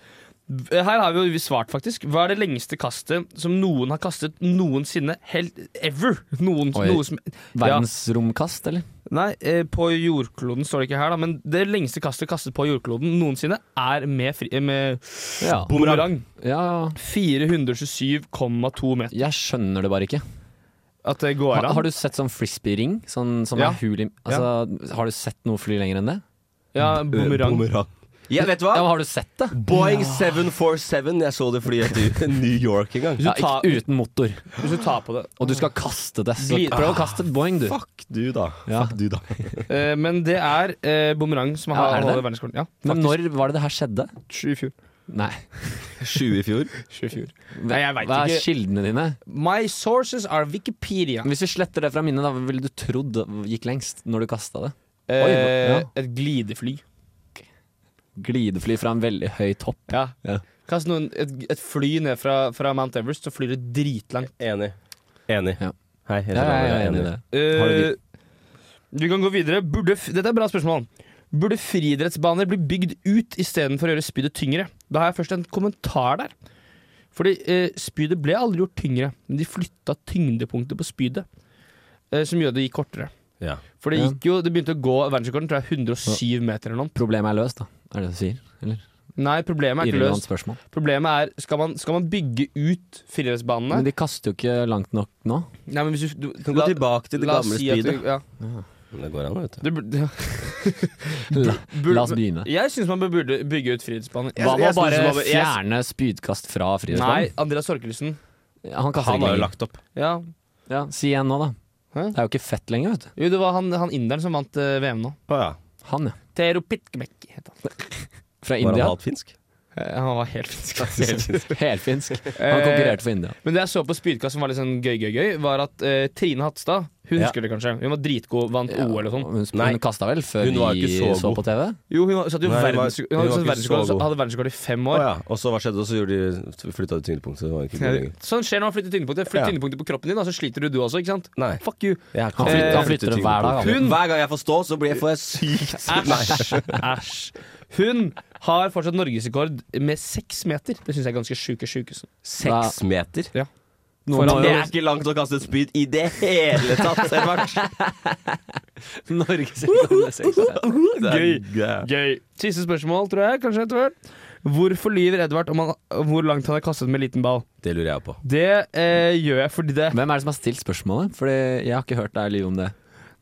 [SPEAKER 4] Her har vi jo svart, faktisk. Hva er det lengste kastet som noen har kastet noensinne? Helt ever! Noen,
[SPEAKER 5] Oi.
[SPEAKER 4] noe som, ja.
[SPEAKER 5] Verdensromkast, eller?
[SPEAKER 4] Nei, eh, på jordkloden står det ikke her, da, men det lengste kastet kastet på jordkloden noensinne er med, fri, eh, med
[SPEAKER 5] Ja.
[SPEAKER 4] boomerang.
[SPEAKER 5] ja.
[SPEAKER 4] 427,2 meter.
[SPEAKER 5] Jeg skjønner det bare ikke.
[SPEAKER 4] At det går
[SPEAKER 5] Har,
[SPEAKER 4] an.
[SPEAKER 5] har du sett sånn frisbee-ring? Sånn som
[SPEAKER 4] Ja.
[SPEAKER 5] er hul i altså, Har du sett noe fly lenger enn det? Eh,
[SPEAKER 4] Ja, boomerang.
[SPEAKER 6] Boomerang. Ja, vet du hva?
[SPEAKER 5] Ja, men Har du sett det?
[SPEAKER 6] Boeing 747. Jeg så det fly etter New York en gang.
[SPEAKER 5] Ja,
[SPEAKER 4] tar-
[SPEAKER 5] ikke uten motor.
[SPEAKER 4] Hvis du tar på det.
[SPEAKER 5] Og du skal kaste det. Så
[SPEAKER 4] Glid-
[SPEAKER 5] prøv å kaste et boing, du.
[SPEAKER 6] Fuck du, da.
[SPEAKER 5] Ja.
[SPEAKER 6] Fuck du, da.
[SPEAKER 4] Eh, men det er eh, boomerang som har
[SPEAKER 5] Ja, er det
[SPEAKER 4] holdt
[SPEAKER 5] det?
[SPEAKER 4] verdenskortet. Ja,
[SPEAKER 5] Men
[SPEAKER 4] faktisk.
[SPEAKER 5] når var det det her skjedde?
[SPEAKER 4] Sju i fjor.
[SPEAKER 5] Nei.
[SPEAKER 6] Sju i fjor.
[SPEAKER 4] Sju i fjor. Nei, jeg vet
[SPEAKER 5] Hva er
[SPEAKER 4] ikke.
[SPEAKER 5] kildene dine?
[SPEAKER 4] My sources are Wikipedia.
[SPEAKER 5] Hvis vi sletter det fra minnet, da, hva ville du trodd det gikk lengst når du kasta det?
[SPEAKER 4] Eh,
[SPEAKER 5] ja.
[SPEAKER 4] Et glidefly.
[SPEAKER 5] Glidefly fra en veldig høy topp.
[SPEAKER 4] Ja.
[SPEAKER 5] Ja.
[SPEAKER 4] Kast noen, et, et fly ned fra, fra Mount Everest, så flyr det dritlangt.
[SPEAKER 6] Enig. Enig.
[SPEAKER 5] Ja.
[SPEAKER 6] Hei, jeg
[SPEAKER 5] Ja,
[SPEAKER 6] heter
[SPEAKER 5] jeg
[SPEAKER 6] Daniel,
[SPEAKER 5] er enig i det.
[SPEAKER 6] Har du
[SPEAKER 4] Eh, vi kan gå videre. Burde, f- dette er et bra spørsmål. Burde friidrettsbaner bli bygd ut istedenfor å gjøre spydet tyngre? Da har jeg først en kommentar der. Fordi eh, spydet ble aldri gjort tyngre, men de flytta tyngdepunktet på spydet. Eh, som gjorde det gikk kortere.
[SPEAKER 6] Ja.
[SPEAKER 4] For det,
[SPEAKER 5] Ja.
[SPEAKER 4] gikk jo, det begynte å gå verdensrekorden tror jeg 107 meter eller noe.
[SPEAKER 5] Problemet er løst, da. Er det det du sier?
[SPEAKER 4] Nei, problemet er ikke
[SPEAKER 5] Irrelevant
[SPEAKER 4] løst.
[SPEAKER 5] spørsmål.
[SPEAKER 4] Problemet er skal man, skal man bygge ut
[SPEAKER 5] Men
[SPEAKER 4] friidrettsbanene
[SPEAKER 5] de kaster jo ikke langt nok nå.
[SPEAKER 4] Nei, men hvis du, du
[SPEAKER 6] Du kan gå tilbake til det
[SPEAKER 4] la oss
[SPEAKER 6] gamle
[SPEAKER 4] si at du-
[SPEAKER 6] speedet.
[SPEAKER 4] Ja,
[SPEAKER 6] Det går an, vet du.
[SPEAKER 4] du, burde-
[SPEAKER 5] La,
[SPEAKER 4] burde-
[SPEAKER 5] la oss begynne.
[SPEAKER 4] Jeg syns man burde bygge ut frihetsbaner.
[SPEAKER 5] Hva med å
[SPEAKER 6] jeg synes
[SPEAKER 5] bare
[SPEAKER 6] det var- jeg-
[SPEAKER 5] fjerne spydkast fra
[SPEAKER 4] Nei,
[SPEAKER 5] friidrettsbanen?
[SPEAKER 4] Andreas Orkelsen.
[SPEAKER 5] Han kaster ikke
[SPEAKER 6] Han har jo
[SPEAKER 5] lenger.
[SPEAKER 6] lagt opp.
[SPEAKER 4] Ja.
[SPEAKER 5] Ja, si igjen nå, da.
[SPEAKER 4] Hæ?
[SPEAKER 5] Det er jo ikke fett lenger, vet du.
[SPEAKER 4] Jo, det var han, han inderen som vant eh, VM nå.
[SPEAKER 6] Å ja.
[SPEAKER 5] Han, ja.
[SPEAKER 4] Tero Pitkemek het han.
[SPEAKER 5] Fra
[SPEAKER 6] Var han
[SPEAKER 5] India.
[SPEAKER 6] halvt finsk?
[SPEAKER 4] Eh, Han var helt finsk.
[SPEAKER 5] Helfinsk. Han konkurrerte for India.
[SPEAKER 4] Men det jeg så på spydkast som var litt sånn gøy, gøy, gøy, var at eh, Trine Hatstad Hun
[SPEAKER 6] Ja.
[SPEAKER 4] husker det kanskje. Hun var dritgod, vant
[SPEAKER 5] Ja,
[SPEAKER 4] OL og sånn.
[SPEAKER 5] Hun, sp-
[SPEAKER 6] Nei.
[SPEAKER 5] hun kasta vel før
[SPEAKER 6] Hun var jo
[SPEAKER 5] vi
[SPEAKER 6] ikke
[SPEAKER 5] så,
[SPEAKER 6] så god.
[SPEAKER 5] på TV?
[SPEAKER 4] Jo, hun var- satt jo
[SPEAKER 6] Nei, hun var-
[SPEAKER 4] verdens- hun
[SPEAKER 6] hun var
[SPEAKER 4] hadde
[SPEAKER 6] ikke
[SPEAKER 4] verdensrekord
[SPEAKER 6] så god.
[SPEAKER 4] hadde verdensrekord i fem
[SPEAKER 6] Å
[SPEAKER 4] år.
[SPEAKER 6] ja. Og så hva skjedde? Og så gjorde de, flytta de tyngdepunktet. Det var ikke god lenger.
[SPEAKER 4] Sånn skjer når man flytter tyngdepunktet. Flytt
[SPEAKER 6] Ja.
[SPEAKER 4] tyngdepunktet på kroppen din, da, så sliter du du også, ikke sant?
[SPEAKER 6] Nei.
[SPEAKER 4] Fuck you.
[SPEAKER 6] Jeg er ikke-
[SPEAKER 5] Han
[SPEAKER 4] flytter-
[SPEAKER 6] Eh,
[SPEAKER 4] han
[SPEAKER 5] flytter det hver dag, han.
[SPEAKER 6] tyngdepunktet. Hver gang jeg får stå, så blir jeg, får jeg sykt
[SPEAKER 4] Æsj. Æsj. Hun har fortsatt norgesrekord med seks meter. Det syns jeg er ganske sjuke sånn. sjukesen.
[SPEAKER 6] Seks meter?
[SPEAKER 5] Noen må
[SPEAKER 6] det
[SPEAKER 5] jo
[SPEAKER 6] er ikke langt å kaste et spyd i det hele tatt, Edvard. Gøy.
[SPEAKER 4] Gøy. Siste spørsmål, tror jeg. kanskje etter hvert. Hvorfor lyver Edvard om han, hvor langt han har kastet med liten ball?
[SPEAKER 6] Det lurer jeg på.
[SPEAKER 4] Det eh, gjør jeg fordi det
[SPEAKER 5] Hvem er det som har stilt spørsmålet? Fordi jeg har ikke hørt deg lyve om det.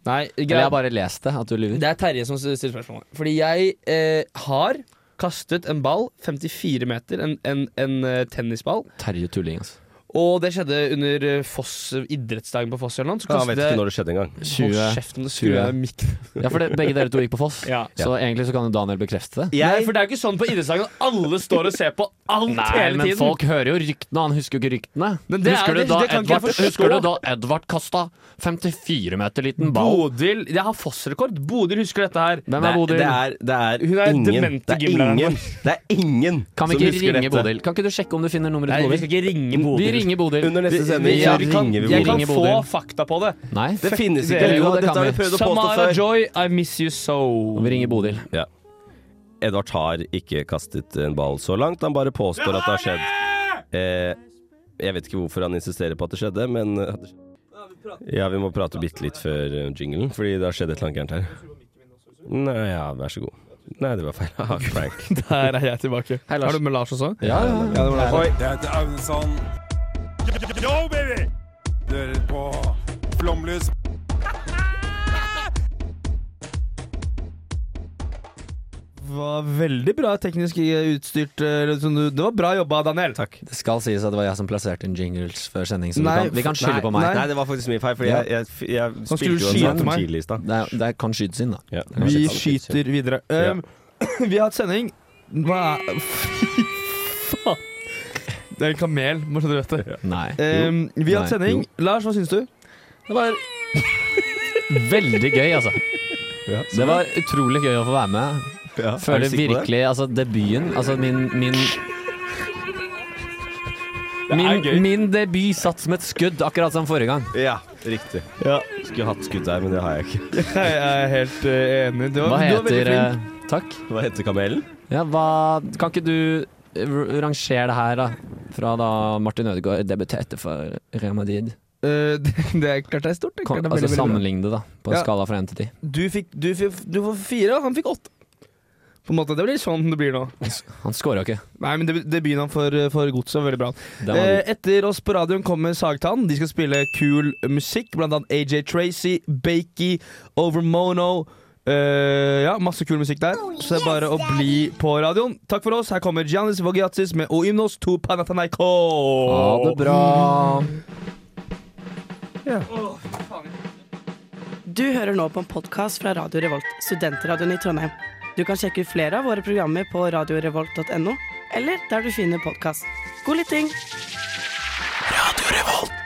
[SPEAKER 4] Nei,
[SPEAKER 5] Eller jeg
[SPEAKER 4] greit.
[SPEAKER 5] har bare lest det, at du lyver.
[SPEAKER 4] Det er Terje som stiller spørsmålet. Fordi jeg eh, har kastet en ball 54 meter, en, en, en eh, tennisball.
[SPEAKER 5] Terje Tulling, altså.
[SPEAKER 4] Og det skjedde under eh, Foss, idrettsdagen på Foss eller noe. Så
[SPEAKER 6] Jeg
[SPEAKER 4] kastet
[SPEAKER 6] vet ikke når det skjedde engang.
[SPEAKER 5] 20.
[SPEAKER 4] Hold kjeften, nå skrur jeg av mikken.
[SPEAKER 5] Ja, for det, begge dere to gikk på Foss,
[SPEAKER 4] Ja.
[SPEAKER 5] så egentlig så kan jo Daniel bekrefte det.
[SPEAKER 4] Nei, for det er jo ikke sånn på idrettsdagen at alle står og ser på alt
[SPEAKER 5] Nei,
[SPEAKER 4] hele
[SPEAKER 5] men
[SPEAKER 4] tiden.
[SPEAKER 5] folk hører jo ryktene, han husker jo ikke ryktene.
[SPEAKER 4] Men det er-
[SPEAKER 5] husker,
[SPEAKER 4] det-
[SPEAKER 5] du da
[SPEAKER 4] det kan ikke jeg
[SPEAKER 5] Edvard,
[SPEAKER 4] forstå.
[SPEAKER 5] husker du da Edvard kasta 54 meter liten ball?
[SPEAKER 4] Bodil Jeg har Foss-rekord. Bodil husker dette her.
[SPEAKER 5] Hvem er Bodil?
[SPEAKER 6] Det er, det er
[SPEAKER 4] Hun er
[SPEAKER 6] ingen,
[SPEAKER 4] demente
[SPEAKER 6] det er
[SPEAKER 4] gymlæreren
[SPEAKER 6] ingen, det er ingen
[SPEAKER 5] Kan vi
[SPEAKER 6] som
[SPEAKER 5] ikke
[SPEAKER 6] husker
[SPEAKER 5] ringe
[SPEAKER 6] dette.
[SPEAKER 5] Bodil? Kan ikke du sjekke om du finner nummeret
[SPEAKER 4] Nei,
[SPEAKER 5] til
[SPEAKER 4] vi
[SPEAKER 5] Bodil?
[SPEAKER 4] skal ikke ringe Bodil.
[SPEAKER 5] Vi ringer Bodil.
[SPEAKER 6] Under neste
[SPEAKER 4] Vi,
[SPEAKER 6] sending
[SPEAKER 4] ja,
[SPEAKER 6] så
[SPEAKER 4] vi kan,
[SPEAKER 6] ringer vi
[SPEAKER 4] jeg
[SPEAKER 6] Bodil.
[SPEAKER 4] kan
[SPEAKER 5] Ringer
[SPEAKER 4] få
[SPEAKER 5] Bodil.
[SPEAKER 4] fakta på det.
[SPEAKER 5] Nei,
[SPEAKER 6] Det finnes ikke.
[SPEAKER 5] Jo, det
[SPEAKER 6] Dette
[SPEAKER 5] kan
[SPEAKER 6] har vi
[SPEAKER 5] vi.
[SPEAKER 6] prøvd å påstå
[SPEAKER 4] Samara
[SPEAKER 6] før.
[SPEAKER 4] Joy, I miss you so.
[SPEAKER 5] vi ringer Bodil.
[SPEAKER 6] Ja. Edvard har ikke kastet en ball så langt, han bare påstår at det har skjedd. Eh, jeg vet ikke hvorfor han insisterer på at det skjedde, men eh, at det skjedde. Ja, vi må prate bitte litt før eh, jinglen, fordi det har skjedd et eller annet gærent her. Nei, ja, vær så god. Nei, det var feil. Ah, Frank.
[SPEAKER 4] Der er jeg tilbake. Har du med Lars også?
[SPEAKER 5] Ja, ja, ja.
[SPEAKER 6] Oi,
[SPEAKER 2] Jeg heter Aunesson. Yo, baby! Du hører på Flomlys.
[SPEAKER 4] var veldig bra teknisk utstyrt. eh, som du- Det var bra jobba, Daniel. Takk.
[SPEAKER 5] Det skal sies at det var jeg som plasserte inn jingles før sending, så vi kan, vi kan skylde på meg.
[SPEAKER 6] Nei, det var faktisk min feil, for jeg, jeg, jeg,
[SPEAKER 4] skulle
[SPEAKER 6] spilte jo
[SPEAKER 4] skyte
[SPEAKER 6] en sang
[SPEAKER 4] meg.
[SPEAKER 6] tidlig i stad.
[SPEAKER 5] Det, er, det er, kan skytes inn, da.
[SPEAKER 6] Ja.
[SPEAKER 4] Vi skyter videre.
[SPEAKER 6] Ja.
[SPEAKER 4] Um, vi har hatt sending. Hva er Fy faen. Det er en kamel, må du vite.
[SPEAKER 5] Nei.
[SPEAKER 4] Um, vi har hatt
[SPEAKER 5] Nei.
[SPEAKER 4] sending. Lars, hva syns du?
[SPEAKER 5] Det var veldig gøy, altså. Det var utrolig gøy å få være med.
[SPEAKER 6] Ja, er du
[SPEAKER 5] Føler
[SPEAKER 6] sikker på det?
[SPEAKER 5] virkelig Altså, debuten Altså, min Min, min, min debut satt som et skudd, akkurat som forrige gang.
[SPEAKER 6] Ja, riktig. Skulle hatt skudd der, men det har jeg ikke.
[SPEAKER 4] Jeg er helt eh, enig. Du var, du
[SPEAKER 5] Hva
[SPEAKER 4] var
[SPEAKER 5] heter
[SPEAKER 4] veldig flink.
[SPEAKER 5] eh, Takk.
[SPEAKER 6] Hva heter kamelen?
[SPEAKER 5] Ja, hva Kan ikke du eh, r- rangere det her, da? Fra da Martin Ødegaard debuterte for Real Madrid.
[SPEAKER 4] Eh, det, det er klart det er stort. Det er
[SPEAKER 5] Kan,
[SPEAKER 4] klart det er veldig,
[SPEAKER 5] altså
[SPEAKER 4] veldig bra.
[SPEAKER 5] sammenligne det, da. På en
[SPEAKER 4] Ja.
[SPEAKER 5] skala fra én til ti.
[SPEAKER 4] Du fikk, du, fikk, du får fire, og han fikk åtte. På en måte, Det blir sånn det blir nå.
[SPEAKER 5] Han scora ikke.
[SPEAKER 4] Nei, men det, det begynner han for, eh, for godset. Veldig bra.
[SPEAKER 5] Den var
[SPEAKER 4] Eh,
[SPEAKER 5] god.
[SPEAKER 4] etter oss på radioen kommer Sagtann. De skal spille kul musikk, blant annet AJ Tracy, Bakey, Overmono. Eh, ja, masse kul musikk der. Så det er bare å bli på radioen. Takk for oss. Her kommer Giannis Vogiatis med Oymnos to Panathanaiko.
[SPEAKER 5] Ha det bra.
[SPEAKER 11] Du hører nå på en podkast fra Radio Revolt, studentradioen i Trondheim. Du kan sjekke ut flere av våre programmer på radiorevolt.no, eller der du finner podkast. God lytting! Radio Revolt.